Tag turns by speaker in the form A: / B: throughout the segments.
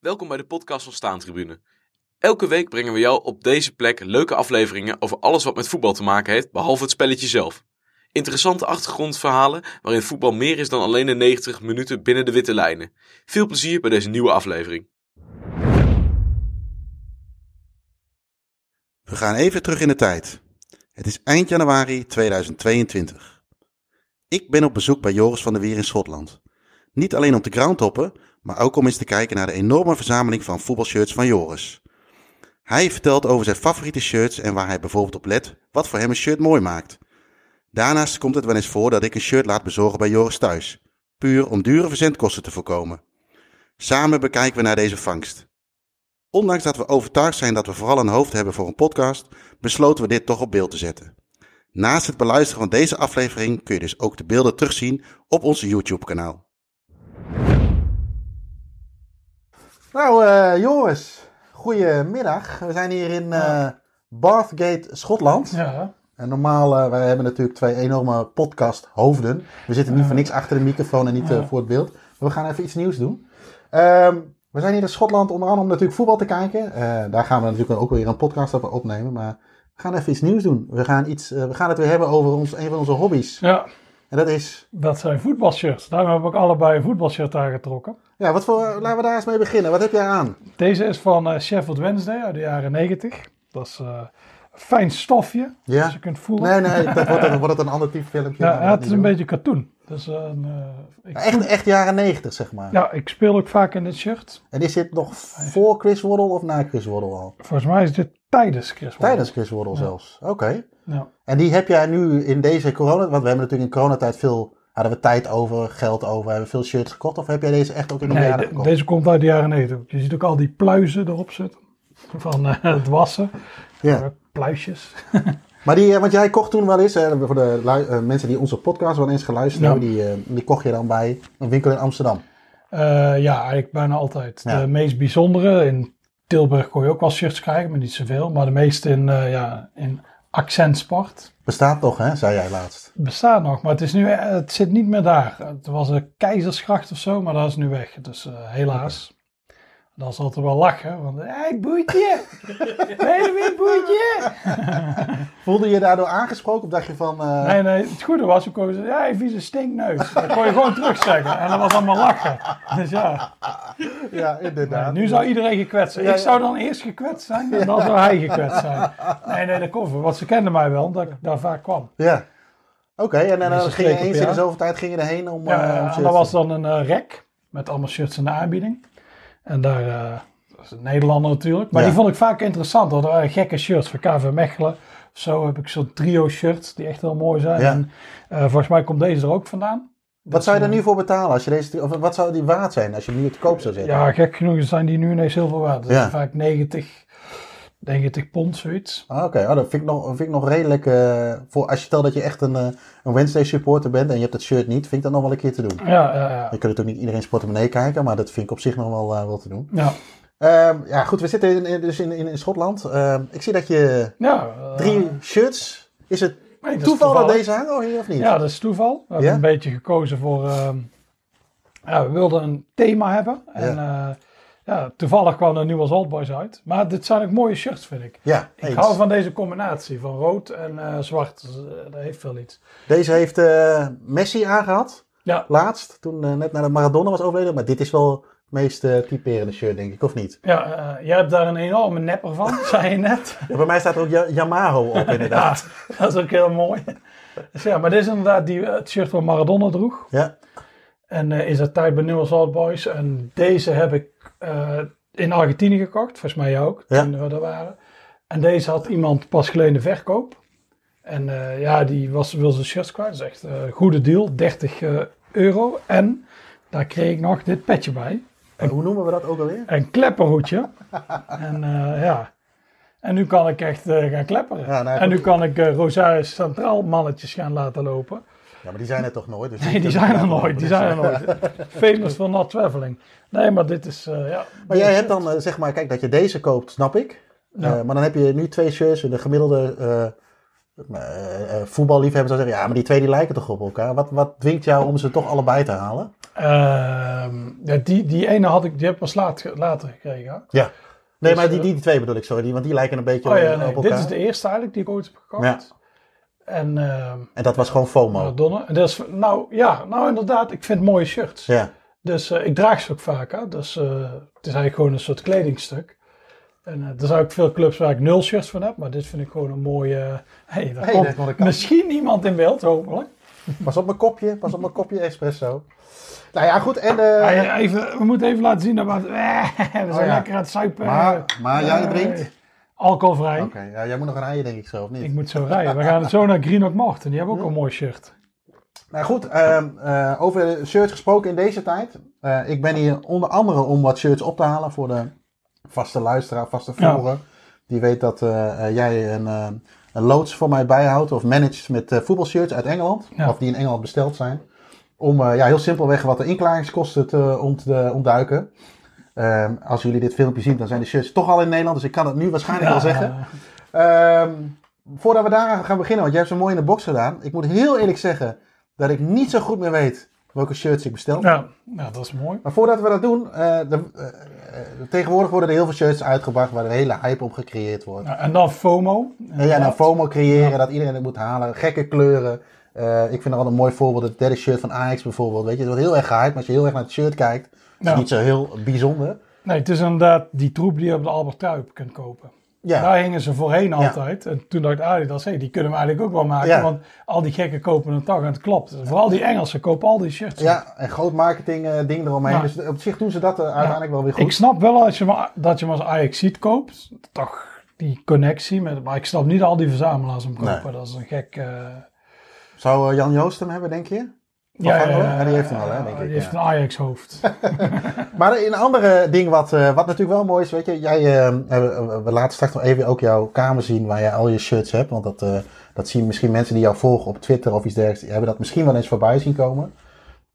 A: Welkom bij de podcast van Staantribune. Elke week brengen we jou op deze plek leuke afleveringen over alles wat met voetbal te maken heeft, behalve het spelletje zelf. Interessante achtergrondverhalen waarin voetbal meer is dan alleen de 90 minuten binnen de witte lijnen. Veel plezier bij deze nieuwe aflevering.
B: We gaan even terug in de tijd. Het is eind januari 2022. Ik ben op bezoek bij Joris van der Weer in Schotland. Niet alleen om te groundtoppen, maar ook om eens te kijken naar de enorme verzameling van voetbalshirts van Joris. Hij vertelt over zijn favoriete shirts en waar hij bijvoorbeeld op let wat voor hem een shirt mooi maakt. Daarnaast komt het wel eens voor dat ik een shirt laat bezorgen bij Joris thuis, puur om dure verzendkosten te voorkomen. Samen bekijken we naar deze vangst. Ondanks dat we overtuigd zijn dat we vooral een hoofd hebben voor een podcast, besloten we dit toch op beeld te zetten. Naast het beluisteren van deze aflevering kun je dus ook de beelden terugzien op ons YouTube-kanaal. Nou, eh Joris, goedemiddag. We zijn hier in eh, Bathgate, Schotland.
C: Ja,
B: En normaal, eh, wij hebben natuurlijk twee enorme podcast-hoofden. We zitten niet voor niks achter de microfoon en niet eh, voor het beeld. Maar we gaan even iets nieuws doen. Ehm, we zijn hier in Schotland onder andere om natuurlijk voetbal te kijken. Eh, daar gaan we natuurlijk ook weer een podcast over opnemen. Maar we gaan even iets nieuws doen. We gaan, iets, eh, we gaan het weer hebben over ons, een van onze hobby's.
C: ja,
B: En dat is...
C: dat zijn voetbalshirts. Daarom heb ik allebei een voetbalshirt aangetrokken.
B: Ja, wat voor, laten we daar eens mee beginnen. Wat heb jij aan?
C: Deze is van eh, Sheffield Wednesday uit de jaren 90. Dat is eh, een fijn stofje,
B: Ja.
C: als je kunt voelen.
B: Nee, nee, dat wordt, dan wordt het een ander type filmpje.
C: ja,
B: Gaan we
C: het
B: dat
C: is
B: niet
C: een
B: doen.
C: beetje katoen. Dus, een, eh, ik,
B: Echt, echt jaren negentig, zeg maar.
C: ja, ik speel ook vaak in dit shirt.
B: En is dit nog voor Chris Waddle of na Chris Waddle al?
C: Volgens mij is dit tijdens Chris Waddle.
B: Tijdens Chris Waddle zelfs. Oké.
C: Ja.
B: En die heb jij nu in deze corona... Want we hebben natuurlijk in coronatijd veel... Hadden we tijd over, geld over, hebben we veel shirts gekocht? Of heb jij deze echt ook in de
C: Nee,
B: jaren
C: de-
B: gekocht?
C: deze komt uit de jaren 90. Je ziet ook al die pluizen erop zitten. Van eh, het wassen.
B: Ja.
C: Pluisjes.
B: Maar die, eh, want jij kocht toen wel eens, eh, voor de lui- eh, mensen die onze podcast wel eens geluisterd
C: Ja.
B: hebben, die, eh, die kocht je dan bij een winkel in Amsterdam.
C: Eh, ja, eigenlijk bijna altijd.
B: Ja.
C: De meest bijzondere, in Tilburg kon je ook wel shirts krijgen, maar niet zoveel. Maar de meeste in, eh ja, in Accent Sport
B: Bestaat nog, hè, zei jij laatst.
C: bestaat nog, maar het, is nu, eh, het zit niet meer daar. Het was een keizersgracht of zo, maar dat is nu weg. Dus eh, helaas. Dat is altijd wel lachen, want hé hey, boertje, ben je er weer boertje?
B: Voelde je je daardoor aangesproken of dacht je van... eh,
C: Nee, nee, het goede was, ik kon zeggen, hey, vieze stinkneus. Dat kon je gewoon terugzeggen en dat was allemaal lachen. Dus ja.
B: Ja, inderdaad.
C: nu zou iedereen gekwetst zijn.
B: Ja,
C: ik
B: ja.
C: zou dan eerst gekwetst zijn en dan zou hij gekwetst zijn. Nee, nee, dat komt voor. Want ze kenden mij wel, omdat ik daar vaak kwam.
B: Ja. Oké, en dan
C: Mensen
B: eh, ging je
C: spreken op
B: eens in de
C: jou.
B: zoveel tijd ging je erheen om...
C: Ja,
B: eh, om
C: en
B: shirts
C: dat
B: te-
C: was dan een eh, rek met allemaal shirts in de aanbieding. En daar, eh, dat is een Nederlander natuurlijk. Maar
B: Ja.
C: die vond ik vaak interessant. want Dat waren gekke shirts van KV Mechelen. Zo heb ik zo'n trio shirts die echt heel mooi zijn.
B: Ja.
C: En, eh, volgens mij komt deze er ook vandaan.
B: Wat zou je daar nu voor betalen? Als je deze, of wat zou die waard zijn als je hem nu te koop zou zetten?
C: Ja, gek genoeg zijn die nu ineens heel veel waard. Dat
B: Ja.
C: zijn vaak 90, 90 pond, zoiets.
B: Ah, Oké, oh, dat vind ik nog, vind ik nog redelijk. eh, voor, als je stelt dat je echt een, eh, een Wednesday supporter bent en je hebt het shirt niet, vind ik dat nog wel een keer te doen.
C: Ja, ja, ja.
B: Je kunt natuurlijk niet iedereen portemonnee kijken, maar dat vind ik op zich nog wel, eh, wel te doen.
C: ja.
B: Ehm, ja, goed, we zitten in- in, dus in, in, in Schotland. Ehm, ik zie dat je
C: Ja, eh,
B: drie shirts. Is het
C: nee, dat is
B: toeval dat
C: toevallig.
B: deze hangen of hier of niet?
C: Ja, dat is toeval. We hebben
B: Ja?
C: een beetje gekozen voor. ehm, ja, we wilden een thema hebben. En eh, ja, toevallig kwam er nu als Old Boys uit. Maar dit zijn ook mooie shirts, vind ik.
B: ja
C: Ik
B: eens.
C: hou van deze combinatie van rood en eh, zwart. Dus, eh, dat heeft wel iets.
B: Deze heeft eh, Messi aangehad
C: Ja,
B: laatst, toen eh, net naar de Maradona was overleden. Maar dit is wel het meest eh, typerende shirt, denk ik, of niet?
C: ja eh, jij hebt daar een enorme nepper van, zei je net.
B: Ja, bij mij staat er ook Ja- Yamaho op, inderdaad.
C: Ja, dat is ook heel mooi. Dus ja, maar dit is inderdaad die, eh, het shirt wat Maradona droeg.
B: Ja,
C: En eh, is dat tijd bij Newell's Old Boys. En deze heb ik eh, in Argentinië gekocht. Volgens mij jou ook,
B: Ja.
C: toen we er waren. En deze had iemand pas geleden de verkoop. En eh, ja, die was, wil zijn shirts kwijt. Dat is echt eh, een goede deal. 30 eh, euro. En daar kreeg ik nog dit petje bij.
B: En hoe noemen we dat ook alweer?
C: Een klepperhoedje. en eh, ja... En nu kan ik echt eh, gaan klepperen.
B: Ja, nou,
C: en nu
B: goed.
C: kan ik eh Rosarius Centraal mannetjes gaan laten lopen.
B: Ja, maar die zijn er toch nooit? Dus
C: Nee, die zijn er nooit. Die zijn er nooit. Famous for not traveling. Nee, maar dit is. eh, ja,
B: Maar jij hebt dan, eh, zeg maar, kijk, dat je deze koopt, snap ik. Eh,
C: Ja.
B: maar dan heb je nu twee shirts en de gemiddelde eh, eh, eh, voetballiefhebber zou zeggen, ja, maar die twee die lijken toch op elkaar. Wat, wat dwingt jou om ze toch allebei te halen?
C: Eh, Ehm, ja, die, die ene had ik, die heb ik pas laat, ge- later gekregen. hè.
D: Ja. Nee,
C: Dus,
D: maar die,
C: eh,
D: die, die twee bedoel ik, sorry. Die, want die lijken een beetje
C: Oh
D: op-
C: ja, nee,
D: op elkaar.
C: dit is de eerste eigenlijk die ik ooit heb gekocht.
D: Ja.
C: En ehm
D: En dat was gewoon FOMO.
C: Maradona. En dat is, nou ja, nou inderdaad, ik vind mooie shirts.
D: Ja.
C: Dus eh, ik draag ze ook vaak. Hè? Dus eh, het is eigenlijk gewoon een soort kledingstuk. En eh er zijn ook veel clubs waar ik nul shirts van heb. Maar dit vind ik gewoon een mooie... eh, hey, daar
D: Hey,
C: komt
D: daar komt een kat.
C: misschien iemand in beeld, hopelijk.
D: Pas op mijn kopje, pas op mijn kopje espresso. Nou ja, goed. En, eh,
C: Ah, ja, even, we moeten even laten zien dat we... we zijn
D: Oh, ja.
C: lekker aan het suipen.
D: maar, maar jij drinkt? Oké,
C: Alcoholvrij.
D: ja, jij moet nog rijden denk ik zo, of niet?
C: Ik moet zo rijden. We gaan zo naar Greenock Morton. Die hebben ook een mooi shirt.
D: Nou goed, ehm, eh, over shirts gesproken in deze tijd. Eh, ik ben hier onder andere om wat shirts op te halen voor de vaste luisteraar, vaste volger. Die weet dat eh, eh, jij een, eh, een loods voor mij bijhoudt of managt met eh, voetbalshirts uit Engeland.
C: Ja.
D: Of die in Engeland besteld zijn. Om eh, ja, heel simpelweg wat de inklaringskosten te ont, eh, ontduiken. Ehm, als jullie dit filmpje zien, dan zijn de shirts toch al in Nederland. Dus ik kan het nu waarschijnlijk al zeggen. Ehm, voordat we daar gaan beginnen, want jij hebt ze mooi in de box gedaan. Ik moet heel eerlijk zeggen dat ik niet zo goed meer weet welke shirts ik bestel.
C: Ja, nou, dat is mooi.
D: Maar voordat we dat doen, eh, de- eh, eh, tegenwoordig worden er heel veel shirts uitgebracht waar een hele hype op gecreëerd wordt.
C: Nou, en dan FOMO.
D: En ja, nou FOMO creëren, dat iedereen het moet halen, gekke kleuren. Eh, ik vind er altijd een mooi voorbeeld, het derde shirt van Ajax bijvoorbeeld. Weet je, het wordt heel erg gehyped, maar als je heel erg naar het shirt kijkt, is het
C: Ja.
D: niet zo heel bijzonder.
C: Nee, het is inderdaad die troep die je op de Albert Kuip kunt kopen.
D: Ja,
C: Daar hingen ze voorheen altijd. En toen dacht Adidas, hé, die kunnen we eigenlijk ook wel maken.
D: Ja.
C: Want al die gekken kopen een tag en het klopt. Vooral die Engelsen kopen al die shirts.
D: ja en groot marketing eh, ding eromheen.
C: Ja.
D: Dus op zich doen ze dat eh, uiteindelijk wel weer goed.
C: Ik snap wel als je maar, dat je hem als Ajax ziet koopt. Toch die connectie. Met, maar ik snap niet dat al die verzamelaars hem kopen.
D: Nee.
C: Dat is een gek... eh,
D: Zou eh, Jan Joost hem hebben, denk je? Gangelen? Ja, die heeft hem al, hè, denk ik,
C: Die heeft
D: ja.
C: een Ajax hoofd.
D: Maar een andere ding wat, eh, wat natuurlijk wel mooi is, weet je, jij, eh, eh, we laten straks nog even ook jouw kamer zien waar jij al je shirts hebt. Want dat, eh, dat zien misschien mensen die jou volgen op Twitter of iets dergelijks, die hebben dat misschien wel eens voorbij zien komen.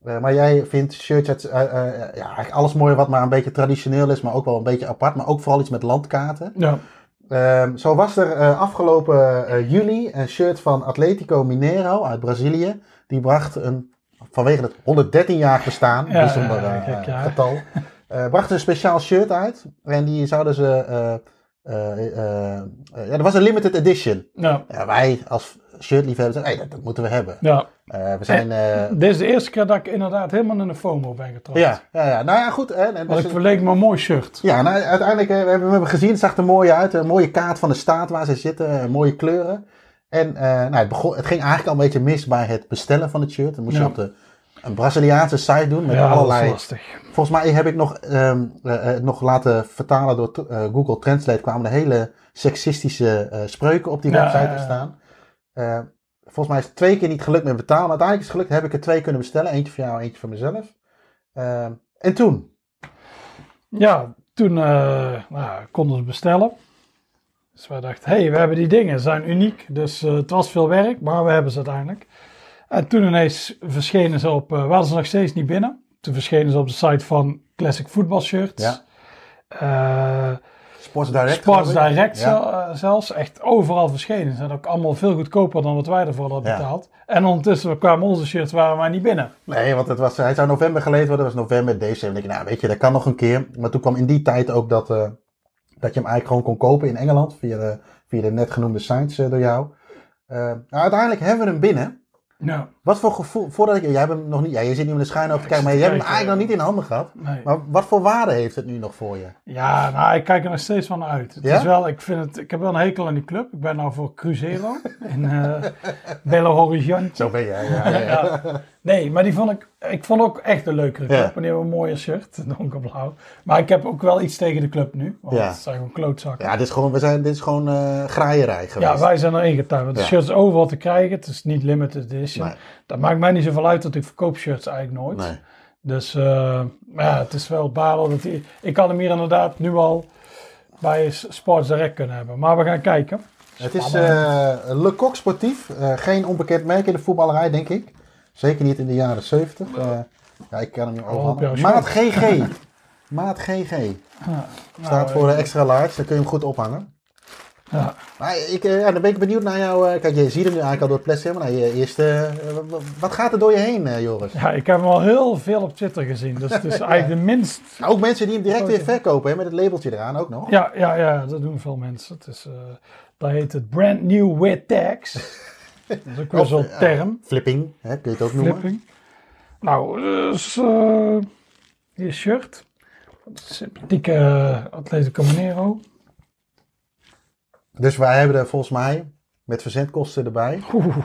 D: Eh, maar jij vindt shirts uit, eh, eh, ja, eigenlijk alles mooi wat maar een beetje traditioneel is, maar ook wel een beetje apart. Maar ook vooral iets met landkaarten.
C: ja.
D: Ehm, zo was er eh, afgelopen eh, juli een shirt van Atletico Mineiro uit Brazilië. Die bracht een, vanwege het 113-jarig bestaan,
C: Ja,
D: bijzonder
C: ja,
D: eh,
C: kijk, ja.
D: getal, eh, bracht een speciaal shirt uit. En die zouden ze... eh, eh, eh, eh, ja, er was een limited edition.
C: Ja.
D: Ja, wij als shirtliefhebbers zeggen, hey, dat, dat moeten we hebben.
C: ja.
D: Eh, we zijn... eh,
C: Dit is de eerste keer dat ik inderdaad helemaal in de FOMO ben getrapt.
D: ja, ja, ja, nou ja, goed. hè, en
C: Want
D: dus-
C: ik verleek me een mooi shirt.
D: Ja, nou, uiteindelijk eh, we hebben we hem gezien. Het zag er mooi uit. Een mooie kaart van de staat waar ze zitten. eh, Mooie kleuren. En eh, nou, het, begon, het ging eigenlijk al een beetje mis bij het bestellen van het shirt. Dan moest je
C: Ja.
D: op de, een Braziliaanse site doen met
C: Ja, dat
D: allerlei...
C: is lastig.
D: Volgens mij heb ik nog, ehm, eh, eh, nog laten vertalen door eh, Google Translate. kwamen er hele seksistische eh, spreuken op die
C: Ja,
D: website
C: ja,
D: te
C: ja.
D: staan. Eh, volgens mij is het twee keer niet gelukt met betalen. Maar uiteindelijk is het gelukt. Heb ik er twee kunnen bestellen. Eentje voor jou, eentje voor mezelf. Ehm, en toen?
C: Ja, toen eh, nou, konden ze bestellen. Dus wij dachten, hé, hey, we hebben die dingen, ze zijn uniek. Dus eh, het was veel werk, maar we hebben ze uiteindelijk. En toen ineens verschenen ze op, eh we hadden ze nog steeds niet binnen. Toen verschenen ze op de site van Classic Football Shirts.
D: Ja.
C: Eh,
D: Sports Direct.
C: Sports
D: geloof ik.
C: Direct
D: Ja.
C: zel- eh, zelfs, echt overal verschenen. Ze zijn ook allemaal veel goedkoper dan wat wij ervoor hadden
D: Ja.
C: betaald. En ondertussen kwamen onze shirts, waren wij niet binnen.
D: Nee, want het was, hij zou november geleverd worden. Dat was november, december. Ik denk, nou weet je, dat kan nog een keer. Maar toen kwam in die tijd ook dat, eh, dat je hem eigenlijk gewoon kon kopen in Engeland. Via de, via de net genoemde sites eh, door jou. Eh, nou, uiteindelijk hebben we hem binnen.
C: Nou,
D: Wat voor gevoel, voordat ik, jij hebt hem nog niet, ja, je zit nu met een schuin over te
C: Ik
D: kijken, maar
C: zit
D: je
C: te
D: hebt hem
C: kijken,
D: eigenlijk nog niet in handen gehad.
C: Nou, nee.
D: Maar wat voor waarde heeft het nu nog voor je?
C: Ja, nou, ik kijk er nog steeds van uit. Het
D: Ja?
C: is wel, ik, vind het, ik heb wel een hekel aan die club. Ik ben nou voor Cruzeiro in eh, Belo Horizonte.
D: Zo ben jij, ja. ja, ja.
C: Ja. Nee, maar die vond ik, ik vond ook echt een leukere club.
D: Ja.
C: En die hebben een mooie shirt, donkerblauw. Maar ik heb ook wel iets tegen de club nu. Want
D: Ja.
C: het zijn gewoon klootzakken.
D: Ja, dit is gewoon, we zijn, dit is gewoon eh graaierij geweest.
C: Ja, wij zijn er ingetuind. Want de
D: Ja.
C: shirt is overal te krijgen. Het is niet limited edition.
D: Nee.
C: Dat maakt mij niet zoveel uit, want ik verkoop shirts eigenlijk nooit.
D: Nee.
C: Dus eh, maar ja, het is wel balen. Dat die, ik had hem hier inderdaad nu al bij Sports Direct kunnen hebben. Maar we gaan kijken.
D: Het is eh Le Coq Sportief. Eh, geen onbekend merk in de voetballerij, denk ik. Zeker niet in de jaren 70. Eh, ja, ik kan hem nu
C: op jouw
D: overal. Maat GG. Maat GG. Staat
C: Oh, Nou, eh,
D: eh, voor de extra large. Dan kun je hem goed ophangen.
C: Ja.
D: Maar ik, eh, ja, dan ben ik benieuwd naar jou. eh, kijk, je ziet hem nu eigenlijk al door het plastic, maar naar je eerste. eh, w- w- wat gaat er door je heen, eh, Joris?
C: ja, ik heb hem al heel veel op Twitter gezien. Dus het is eigenlijk de minst...
D: Nou, ook mensen die hem direct weer verkopen, hè, met het labeltje eraan ook nog.
C: Ja, ja, ja, dat doen veel mensen. Het is, eh, dat heet het brand new with tags. Dat is ook wel
D: Of,
C: zo'n
D: ja,
C: term.
D: Flipping, hè, kun je het ook noemen.
C: Flipping. Nou, dus, eh, je shirt. Sympathieke eh, Atletico Mineiro.
D: Dus wij hebben er volgens mij, met verzendkosten erbij.
C: Oeh,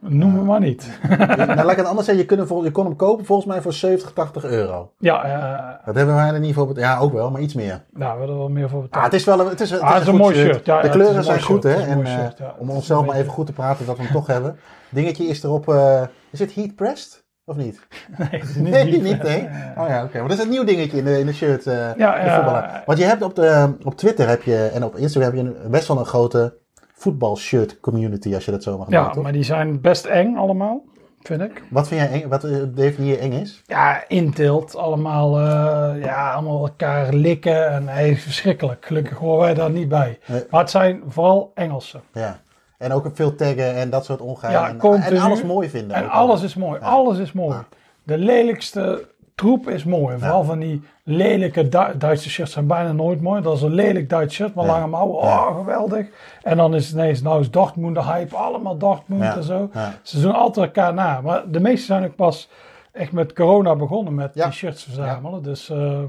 C: noem me maar niet.
D: nou, laat ik het anders zeggen, je, kunt hem vol- je kon hem kopen volgens mij voor 70, 80 euro.
C: Ja, eh
D: Dat hebben wij er niet voor betaald. Ja, ook wel, maar iets meer.
C: daar hebben Nou, we er wel meer voor
D: Ah,
C: betaald.
D: het is wel een, het is, het
C: Ah,
D: is
C: het is een mooi shirt. Ja, ja,
D: de
C: het is
D: kleuren
C: een
D: zijn
C: mooi
D: goed,
C: shirt.
D: hè?
C: Het is een
D: En
C: mooi
D: eh,
C: shirt, ja. Het
D: om
C: is een
D: onszelf maar
C: beetje-
D: even goed te praten dat we hem toch hebben. Dingetje is erop. eh, is het heat pressed? Of niet?
C: nee, het is niet
D: Nee,
C: lief.
D: niet, nee. Oh ja, oké. Maar dat is een nieuw dingetje in de, in de shirt. eh
C: Ja,
D: de
C: ja.
D: voetballer. Want je hebt op, de, eh, op Twitter heb je, en op Instagram heb je een- best wel een grote voetbalshirt community, als je dat zo mag noemen.
C: Ja,
D: toch?
C: maar die zijn best eng allemaal, vind ik.
D: Wat vind jij eng, wat eh, definieer je eng is?
C: Ja, intilt, allemaal, eh, ja, allemaal elkaar likken en hey, verschrikkelijk. Gelukkig horen wij daar niet bij.
D: Nee.
C: Maar het zijn vooral Engelsen.
D: Ja. En ook veel taggen en dat soort ongeheim.
C: Ja,
D: en,
C: continu.
D: en alles mooi vinden.
C: En
D: ook.
C: alles is mooi, alles is mooi.
D: Ja.
C: De lelijkste troep is mooi. Vooral van die lelijke Du- Duitse shirts zijn bijna nooit mooi. Dat is een lelijk Duits shirt, maar
D: Ja.
C: lange mouwen, oh geweldig. En dan is het ineens, nou is Dortmund de hype, allemaal Dortmund
D: Ja.
C: en zo.
D: Ja.
C: Ze doen altijd elkaar na. Maar de meeste zijn ook pas echt met corona begonnen met
D: Ja.
C: die shirts verzamelen. Dus eh,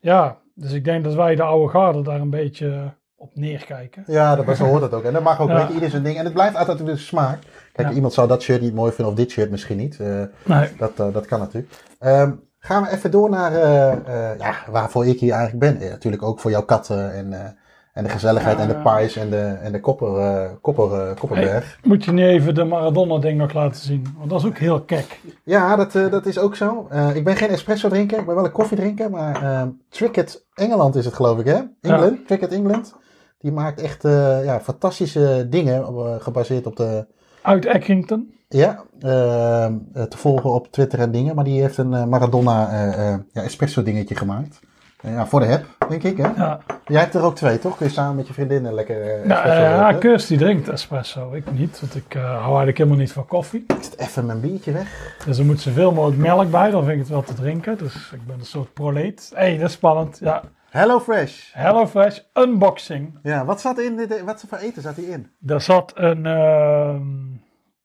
C: ja, dus ik denk dat wij de oude garde daar een beetje op neerkijken.
D: Ja, dat, maar zo hoort dat ook. En dat mag ook,
C: Ja.
D: weet je, ieder zijn ding. En het blijft altijd de smaak. Kijk,
C: Ja.
D: iemand zou dat shirt niet mooi vinden of dit shirt misschien niet. Eh,
C: Nee.
D: dat, eh, dat kan natuurlijk. Ehm, gaan we even door naar eh, eh, ja, waarvoor ik hier eigenlijk ben. Eh, natuurlijk ook voor jouw katten en, eh, en de gezelligheid
C: Ja,
D: en de
C: ja.
D: pies en de, en de kopper, eh, kopper, eh, kopperberg.
C: Moet je niet even de Maradona-ding nog laten zien? Want dat is ook heel kek.
D: Ja, dat, eh, dat is ook zo. Eh, ik ben geen espresso drinker, ik ben wel een koffie drinker. Maar ehm Tricket Engeland is het geloof ik hè? England, Tricket England. Die maakt echt eh, ja, fantastische dingen eh, gebaseerd op de,
C: Uit Eckington.
D: Ja, ehm, eh, te volgen op Twitter en dingen. Maar die heeft een eh, Maradona eh, eh, ja, espresso dingetje gemaakt. Eh, ja, voor de app, denk ik. Hè?
C: Ja,
D: Jij hebt er ook twee, toch? Kun je samen met je vriendinnen lekker eh,
C: ja,
D: espresso
C: eh, ja
D: drinken?
C: Kirst die drinkt espresso. Ik niet, want ik eh, hou eigenlijk helemaal niet van koffie.
D: Ik zet even mijn biertje weg.
C: Dus er moet zoveel mogelijk melk bij, dan vind ik het wel te drinken. Dus ik ben een soort proleet. hey, dat is spannend. Ja,
D: Hello Fresh.
C: HelloFresh unboxing.
D: Ja, wat zat in dit, wat voor eten zat hierin?
C: Daar zat een, ehm,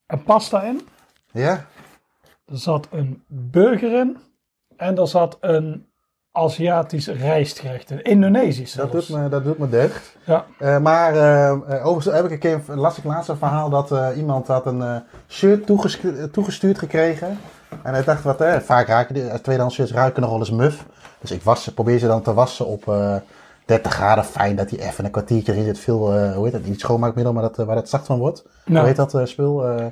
C: een pasta in.
D: Ja,
C: Er zat een burger in. En er zat een Aziatisch rijstgerecht in. Indonesisch
D: dat
C: zelfs.
D: doet, me, dat doet me deugd.
C: Ja.
D: Eh, maar eh, eh, overigens heb ik een keer, las ik laatst een verhaal dat eh, iemand had een eh, shirt toeges- eh, toegestuurd gekregen. En hij dacht, wat, eh, vaak raken die eh, tweedehands shirts ruiken nog wel eens muf. Dus ik was, probeer ze dan te wassen op eh, 30 graden. Fijn dat die even een kwartiertje in zit. Veel, eh, hoe heet dat, niet schoonmaakmiddel, maar dat, eh, waar dat zacht van wordt. Hoe
C: Nou,
D: heet dat eh, spul? Eh,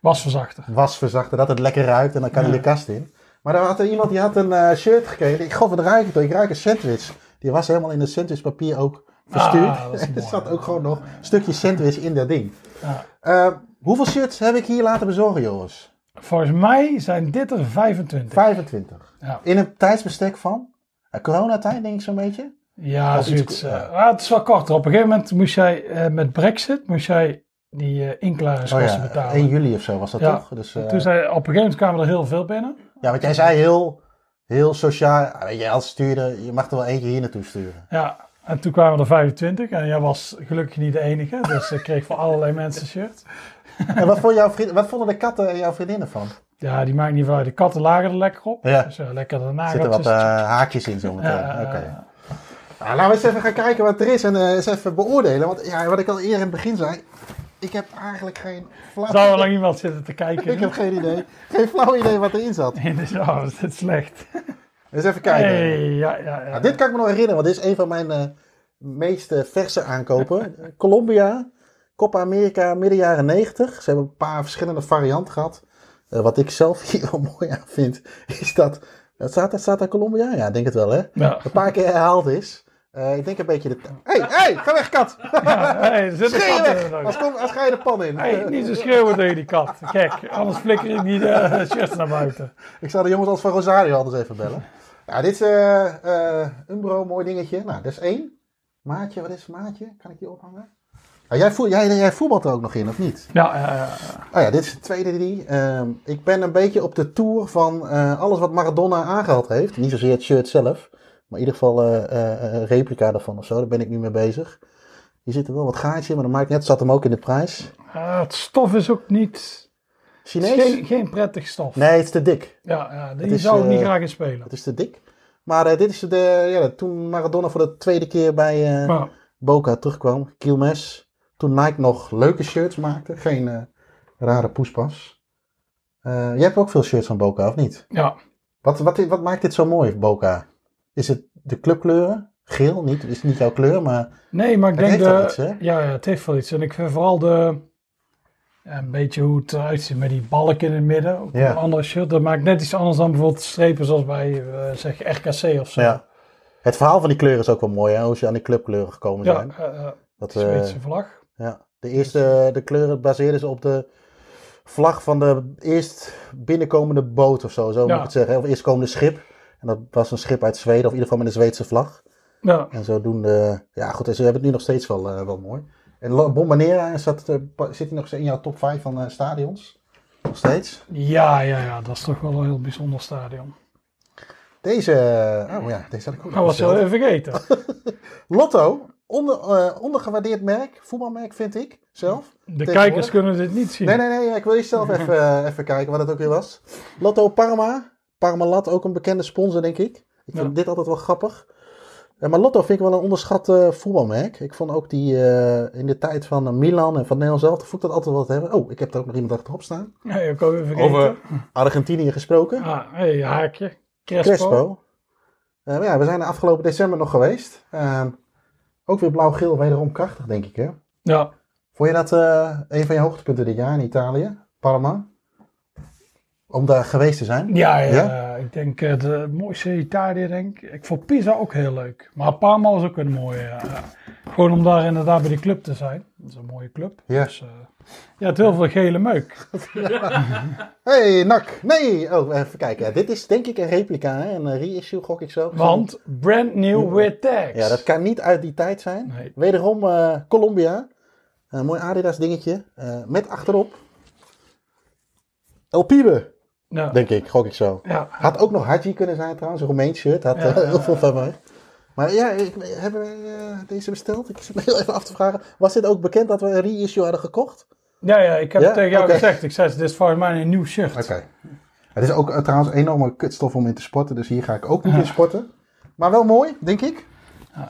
C: wasverzachter.
D: wasverzachter, dat het lekker ruikt en dan kan hij de kast in. Maar dan had er iemand die had een eh, shirt gekregen. Ik gaf het ruikt toch, ik ruik een sandwich. Die was helemaal in het sandwichpapier ook verstuurd.
C: Ah, dat is
D: en er
C: mooi.
D: zat ook gewoon nog een stukje sandwich in dat ding.
C: Ja.
D: Eh, hoeveel shirts heb ik hier laten bezorgen, Joris?
C: Volgens mij zijn dit er 25.
D: 25.
C: Ja.
D: In een tijdsbestek van? Eh, coronatijd, denk ik zo'n beetje.
C: Ja,
D: Of iets-
C: zoiets. eh,
D: ja.
C: maar het is wel korter. Op een gegeven moment moest jij eh, met Brexit moest jij die eh
D: Oh
C: inklaringskosten
D: ja,
C: betalen.
D: 1 juli of zo was dat
C: Ja.
D: toch? Dus, eh,
C: Toen zei, op een gegeven moment kwamen er heel veel binnen.
D: ja, want jij zei heel, heel sociaal. ah, Weet je, als stuurder, je mag er wel eentje hier naartoe sturen.
C: Ja, en toen kwamen er 25 en jij was gelukkig niet de enige. Dus ik kreeg voor allerlei mensen shirts.
D: en wat, vond jouw vriend, wat vonden de katten en jouw vriendinnen van?
C: Ja, die maakt niet veel uit. De katten lagen er lekker op.
D: Ja.
C: Dus ja, lekker daarna.
D: Er zitten wat eh, haakjes in zometeen. Oké. Nou, laten we eens even gaan kijken wat er is en eh, eens even beoordelen. Want ja, wat ik al eerder in het begin zei, ik heb eigenlijk geen flauw
C: Zou er lang iemand zitten te kijken?
D: Ik heb geen idee. Geen flauw idee wat erin zat.
C: Nee, dus, oh, dit is slecht.
D: Eens even kijken.
C: Hey, ja, ja, ja.
D: Nou, dit kan ik me nog herinneren, want dit is een van mijn eh, meest eh, verse aankopen. Eh, Colombia, Copa America, midden jaren 90. Ze hebben een paar verschillende varianten gehad. Eh, wat ik zelf hier wel mooi aan vind, is dat... dat staat, daar- staat daar Colombia? Ja, ik denk het wel, hè?
C: Ja.
D: een paar keer herhaald is. Eh, ik denk een beetje de. Hé, hey, hey, ga weg, kat!
C: Ja, hey, er zitten
D: Schreeuw
C: katten
D: weg!
C: er nog.
D: Als, kom, als ga je de pan in.
C: Hey, niet zo schreeuwen tegen die kat. Kijk, anders flikker ik die eh, shirts naar buiten.
D: Ik zal de jongens als van Rosario anders even bellen. Nou, dit is eh eh, Umbro, mooi dingetje. Nou, dat is één. Maatje, wat is maatje? Kan ik die ophangen? Ah, jij, voel, jij, jij voetbalt er ook nog in, of niet?
C: Ja, eh,
D: Oh ja, dit is de tweede drie. Ehm, ik ben een beetje op de tour van eh, alles wat Maradona aangehaald heeft. Niet zozeer het shirt zelf, maar in ieder geval eh, eh, een replica daarvan of zo. Daar ben ik nu mee bezig. Hier zit er wel wat gaatje, maar dat maakt net. Zat hem ook in de prijs.
C: eh, het stof is ook niet... het is
D: Chinees?
C: geen, geen prettig stof.
D: Nee, het is te dik.
C: Ja, ja, die
D: Het is,
C: zou ik niet
D: eh,
C: graag in spelen.
D: Het is te dik. Maar eh, dit is de, ja, toen Maradona voor de tweede keer bij eh,
C: Maar,
D: Boca terugkwam. Kielmes. Toen Nike nog leuke shirts maakte. Geen eh, rare poespas. Eh, jij hebt ook veel shirts van Boca, of niet?
C: ja,
D: Wat, wat, wat maakt dit zo mooi, Boca? Is het de clubkleuren? Geel, niet, is niet jouw kleur, maar
C: nee, maar ik
D: het
C: denk...
D: heeft
C: De,
D: wel iets, hè?
C: Ja, ja, het heeft wel iets. En ik vind vooral de, ja, een beetje hoe het eruit ziet met die balk in het midden. Ook
D: Ja.
C: Een andere shirt. Dat maakt net iets anders dan bijvoorbeeld strepen zoals bij eh, zeg RKC of zo.
D: Ja. Het verhaal van die kleuren is ook wel mooi, hè? Hoe ze aan die clubkleuren gekomen
C: ja
D: zijn.
C: eh, eh,
D: Dat,
C: het is een
D: eh,
C: beetje zijn vlag.
D: ja. De eerste de kleuren baseerden ze op de vlag van de eerst binnenkomende boot of zo, zo moet
C: Ja.
D: ik het zeggen. Of eerstkomende schip. En dat was een schip uit Zweden, of in ieder geval met een Zweedse vlag.
C: Ja,
D: En zodoende, ja goed, en ze hebben het nu nog steeds wel, eh, wel mooi. En La- Bombonera, zat, eh, pa- zit hij nog steeds in jouw top 5 van eh, stadions? Nog steeds?
C: ja, ja, ja, dat is toch wel een heel bijzonder stadion.
D: Deze, eh, oh ja, deze had ik ook nog
C: Dat was
D: besteld.
C: wel even vergeten.
D: Lotto, onder, eh, ondergewaardeerd merk, voetbalmerk vind ik zelf.
C: De kijkers kunnen dit niet zien.
D: Nee, nee, nee, ik wil eerst zelf even, eh, even kijken wat het ook weer was. Lotto Parma, Parmalat, ook een bekende sponsor denk ik. Ik vind
C: Ja.
D: dit altijd wel grappig. Eh, maar Lotto vind ik wel een onderschat eh, voetbalmerk. Ik vond ook die eh, in de tijd van eh, Milan en van Nederland zelf, vond ik dat altijd wel te hebben. Oh, ik heb er ook nog iemand achterop staan.
C: Nee, ik ook even vergeten.
A: Over-
D: Argentinië gesproken.
C: Ah, hey, haakje. Crespo.
D: Crespo. Eh, maar ja, we zijn de afgelopen december nog geweest. Eh, ook weer blauw-geel, wederom krachtig, denk ik. Hè?
C: Ja,
D: Vond je dat eh, een van je hoogtepunten dit jaar in Italië? Parma? Om daar geweest te zijn?
C: ja, ja,
D: Ja?
C: ik denk eh, de mooiste Italië, denk ik. Ik vond Pisa ook heel leuk. Maar Parma was ook een mooie. eh, gewoon om daar inderdaad bij die club te zijn. Dat is een mooie club.
D: Ja.
C: Dus, eh, ja, het heel veel gele meuk.
D: hey, Nak! Nee! Oh, even kijken. Ja, dit is denk ik een replica, hè? een eh, reissue, gok ik zo.
C: Want brand new with tags.
D: Ja, dat kan niet uit die tijd zijn.
C: Nee.
D: Wederom eh, Colombia. Een mooi Adidas dingetje. eh, met achterop. El Pibe,
C: Ja.
D: denk ik, gok ik zo.
C: Ja.
D: Had ook nog Haji kunnen zijn trouwens, een Romeins shirt. Had
C: Ja.
D: eh, heel veel van mij. Maar ja, ik, hebben wij eh, deze besteld? Ik zit me heel even af te vragen. Was dit ook bekend dat we een reissue hadden gekocht?
C: Ja, ja, ik heb
D: Ja?
C: het tegen jou
D: Oké.
C: gezegd. Ik zei, dit is volgens mij een nieuw shirt.
D: Het is ook eh, trouwens een enorme kutstof om in te sporten. Dus hier ga ik ook niet in sporten. Maar wel mooi, denk ik.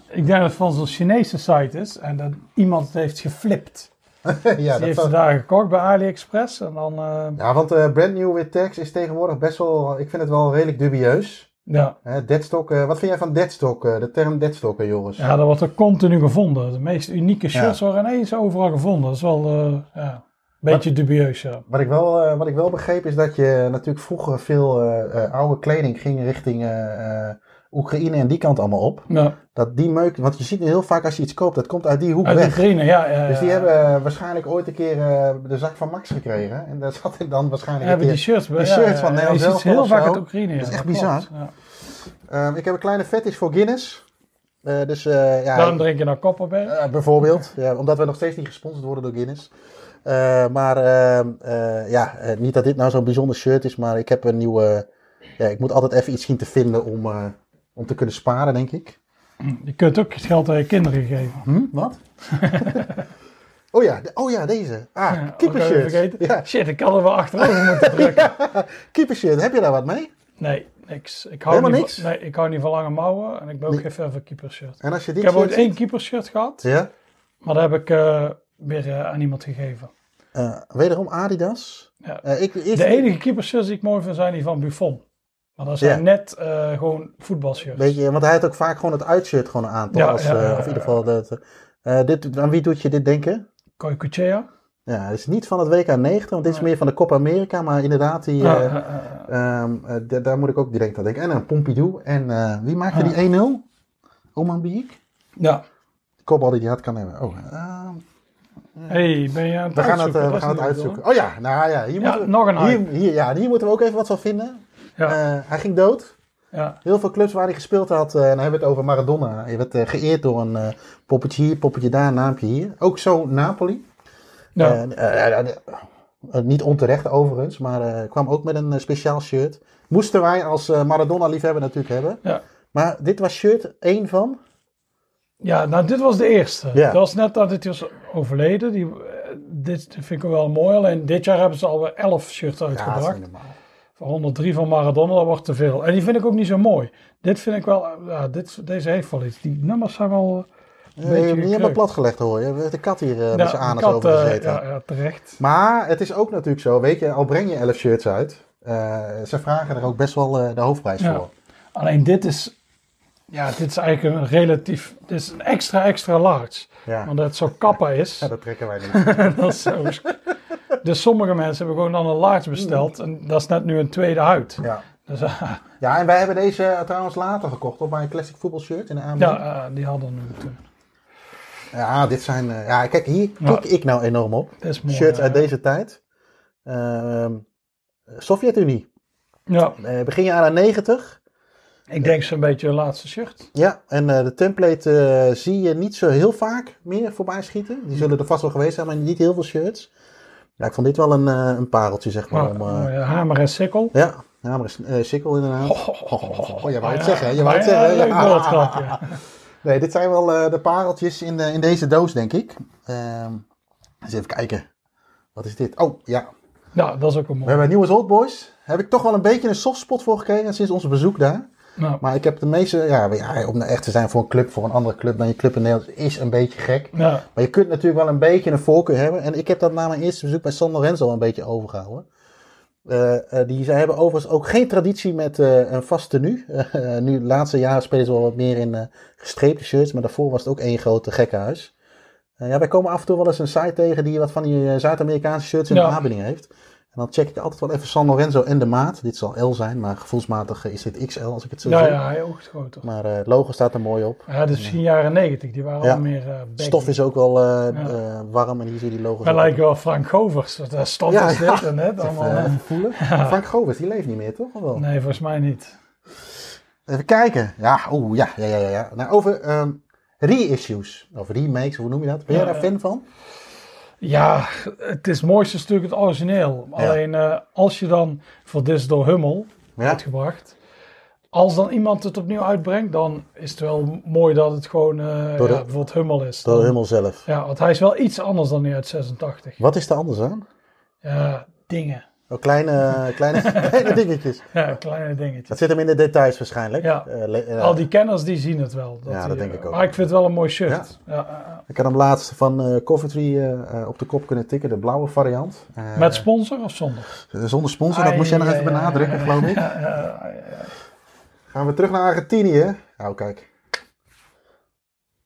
C: Ik denk dat het van zo'n Chinese site is en dat iemand het heeft geflipt.
D: ja,
C: Die
D: dat
C: heeft
D: zou-
C: het daar gekocht bij AliExpress en dan... eh,
D: ja, want eh, brand new with tax is tegenwoordig best wel... Ik vind het wel redelijk dubieus.
C: ja.
D: Hè, deadstock, eh, wat vind jij van deadstock? eh, de term deadstock, eh, Joris?
C: ja, dat wordt er continu gevonden. De meest unieke shirts worden ineens overal gevonden. Dat is wel eh, ja, een beetje dubieus, ja.
D: Wat ik, wel, eh, wat ik wel begreep is dat je natuurlijk vroeger veel eh, eh, oude kleding ging richting eh, eh, Oekraïne en die kant allemaal op.
C: ja.
D: Dat die meuk, want je ziet heel vaak als je iets koopt, dat komt uit die hoek
C: Uit
D: weg.
C: Oekraïne, ja. ja,
D: Dus die
C: ja.
D: hebben eh, waarschijnlijk ooit een keer eh, de zak van Max gekregen. En daar zat ik dan waarschijnlijk
C: hebben
D: een
C: die
D: keer.
C: shirts. bij-
D: die
C: ja,
D: shirts
C: ja,
D: van
C: ja.
D: Nederland
C: Je ziet ze
D: zelf
C: heel
D: of
C: vaak
D: zo.
C: uit Oekraïne. Ja.
D: Dat is echt
C: klopt,
D: bizar.
C: Ja.
D: Ehm, ik heb een kleine fetish voor Guinness. Eh, dus eh, ja,
C: Daarom drink je nou Koppenberg.
D: Eh, bijvoorbeeld. Ja, omdat we nog steeds niet gesponsord worden door Guinness. Eh, maar ehm, eh, ja, eh, niet dat dit nou zo'n bijzonder shirt is, maar ik heb een nieuwe. ja, ik moet altijd even iets zien te vinden om, eh, om te kunnen sparen, denk ik. Hm,
C: Je kunt ook het geld aan je kinderen geven.
D: Wat? oh, ja, de- oh ja, deze. Ah,
C: Ja, ook even
D: keepershirt.
C: vergeten.
D: Ja,
C: Shit, ik had er wel achterover moeten drukken.
D: keepershirt. Heb je daar wat mee?
C: Nee, niks. Ik hou
D: Helemaal
C: niet
D: niks?
C: Van, nee, ik hou niet van lange mouwen en ik ben ook geen fan van keepershirt.
D: En als je
C: Ik
D: dit
C: heb ooit
D: shirt
C: één keepershirt gehad,
D: ziet- Ja.
C: maar dat heb ik eh, weer eh, aan iemand gegeven.
D: Eh, wederom Adidas.
C: Ja.
D: Eh, ik, ik,
C: De enige keepershirts die ik mooi vind zijn die van Buffon. Maar dat zijn
D: Ja.
C: net eh, gewoon voetbalshirts.
D: Beetje, want hij had ook vaak gewoon het uitshirt gewoon aan. toch?
C: Ja,
D: Als,
C: ja,
D: eh,
C: ja,
D: of in
C: ja,
D: ieder geval. Dat, eh, dit, aan wie doet je dit denken?
C: Koikuchea.
D: Ja, het is niet van het WK 90, want dit is meer van de Copa America. Maar inderdaad, die,
C: Ja,
D: eh,
C: eh, eh, eh.
D: ehm, eh, d- daar moet ik ook direct aan denken. En een Pompidou. En eh, wie
C: Ah.
D: maakte die 1-0? Oman Biek?
C: ja.
D: De kopbal die hij had kan hebben. Oh, ehm,
C: hey, ben je aan het
D: we gaan het,
C: uitzoeken?
D: eh, we
C: Dat is
D: gaan het
C: leuk,
D: uitzoeken. Oh ja, nou ja. Hier
C: Ja,
D: moeten we,
C: nog een hype.
D: hier, hier, ja, hier moeten we ook even wat van vinden.
C: hoor. Ja.
D: Eh, hij ging dood.
C: Ja.
D: Heel veel clubs waar hij gespeeld had, eh, en dan hebben we het over Maradona. Je werd eh, geëerd door een eh, poppetje hier, poppetje daar, naampje hier. Ook zo Napoli.
C: Ja.
D: Eh, eh, eh, eh, niet onterecht overigens, maar eh, kwam ook met een eh, speciaal shirt. Moesten wij als eh, Maradona-liefhebber natuurlijk hebben.
C: Ja.
D: Maar dit was shirt 1 van.
C: Ja, nou, dit was de eerste.
D: Ja.
C: Dat was net dat het was overleden. Die, eh, dit vind ik wel mooi. Alleen dit jaar hebben ze alweer 11 shirts
D: dat is
C: uitgebracht.
D: niet normaal.
C: Voor 103 van Maradona, dat wordt te veel. En die vind ik ook niet zo mooi. Dit vind ik wel, eh, ja, dit, deze heeft wel iets. Die nummers zijn wel eh, een
D: Nee,
C: beetje
D: niet helemaal
C: gekreuk.
D: platgelegd hoor. Je hebt de kat hier eh,
C: Ja,
D: met zijn
C: de
D: anus
C: kat,
D: over
C: eh,
D: gezeten.
C: ja, ja, terecht.
D: Maar het is ook natuurlijk zo, weet je, al breng je 11 shirts uit, eh, ze vragen er ook best wel eh, de hoofdprijs
C: Ja.
D: voor.
C: Alleen dit is, ja, dit is eigenlijk een relatief, dit is een extra, extra large.
D: Ja.
C: Want dat het zo kappa is.
D: Ja, dat trekken wij niet.
C: Dat is zo. Dus sommige mensen hebben gewoon dan een large besteld. En dat is net nu een tweede huid.
D: ja.
C: Dus eh,
D: ja, en wij hebben deze eh, trouwens later gekocht op mijn classic voetbalshirt in de aanbieding.
C: ja, eh, die hadden we nu toen.
D: Ja, dit zijn. eh, ja, kijk, hier
C: Ja.
D: kijk ik nou enorm op.
C: Dat is mooi. eh,
D: Shirts uit
C: hè?
D: deze tijd. Ehm, Sovjet-Unie.
C: Ja,
D: Eh, begin jaren 90.
C: ik denk zo'n beetje hun laatste shirt.
D: Ja, en eh, de template eh, zie je niet zo heel vaak meer voorbij schieten. Die zullen er vast wel geweest zijn, maar niet heel veel shirts. Ja, ik vond dit wel een, eh, een pareltje, zeg maar.
C: Maar,
D: om, eh,
C: mooie hamer en sikkel.
D: ja, ja, maar is eh, sikkel inderdaad.
C: Oh, oh, oh, oh,
D: Oh, je wou het
C: ja.
D: zeggen, hè? je wou het
C: Ja,
D: zeggen.
C: leuk
D: Ja.
C: woordgrapje. Ja.
D: Nee, dit zijn wel eh, de pareltjes in, de- in deze doos, denk ik. Ehm, eens even kijken. Wat is dit? Oh, ja.
C: Nou, dat is ook een
D: We
C: mooi.
D: hebben Nieuwe Old Boys. Heb ik toch wel een beetje een softspot voor gekregen sinds ons bezoek daar.
C: Nou,
D: Maar ik heb de meeste... Ja, ja, om nou echt te zijn voor een club, voor een andere club dan je club in Nederland, is een beetje gek.
C: ja,
D: Maar je kunt natuurlijk wel een beetje een voorkeur hebben. En ik heb dat na mijn eerste bezoek bij San Lorenzo een beetje overgehouden. Eh, eh, die, zij hebben overigens ook geen traditie met eh, een vast tenue. Eh, nu, de laatste jaren spelen ze wel wat meer in eh, gestreepte shirts. Maar daarvoor was het ook één grote gekkenhuis. Eh, ja, wij komen af en toe wel eens een site tegen die wat van die eh, Zuid-Amerikaanse shirts in
C: Ja.
D: de aanbieding heeft. En dan check ik altijd wel even San Lorenzo en de maat. Dit zal L zijn, maar gevoelsmatig eh, is dit XL als ik het zo
C: ja,
D: zie.
C: ja, hij oogt groter.
D: Maar eh, het logo staat er mooi op.
C: Ja, dit is misschien jaren 90. Die waren
D: Ja.
C: al meer eh baggy.
D: Stof is ook wel eh,
C: Ja.
D: eh, warm en hier zie je die logo's
C: Wij
D: ook op.
C: lijken wel Frank Govers. Dat is stond
D: Ja,
C: als
D: ja.
C: dit en net allemaal.
D: Even,
C: hè.
D: eh, voelen. Frank Govers, die leeft niet meer, toch? Of wel?
C: Nee, volgens mij niet.
D: Even kijken. Ja, oeh, ja, ja, ja, ja, ja. Nou, over ehm reissues. Of remakes, hoe noem je dat? Ben jij
C: Ja,
D: daar
C: ja.
D: fan van?
C: Ja, het is mooiste stuk het origineel. Alleen eh, als je dan, voor dit is door Hummel,
D: Ja.
C: uitgebracht. Als dan iemand het opnieuw uitbrengt, dan is het wel mooi dat het gewoon eh,
D: Door de-
C: ja, bijvoorbeeld Hummel is.
D: Door Hummel zelf.
C: Ja, want hij is wel iets anders dan die uit 86.
D: Wat is er anders aan?
C: Ja, dingen.
D: Oh, kleine, kleine, kleine dingetjes.
C: Ja, kleine dingetjes.
D: Dat zit hem in de details waarschijnlijk.
C: Ja.
D: Eh, le- eh,
C: Al die kenners die zien het wel.
D: Ja,
C: die,
D: dat denk
C: eh,
D: ik ook.
C: Maar ik vind het wel een mooi shirt. Ja. eh,
D: Ik had hem laatst van eh Coventry eh, eh, op de kop kunnen tikken, de blauwe variant. Eh,
C: eh, Met sponsor of zonder?
D: Zonder sponsor, dat
C: Ai,
D: moest jij nog
C: ai,
D: even
C: ai,
D: benadrukken,
C: ai,
D: geloof ik.
C: Ja, ja, ja.
D: Gaan we terug naar Argentinië. Nou, kijk.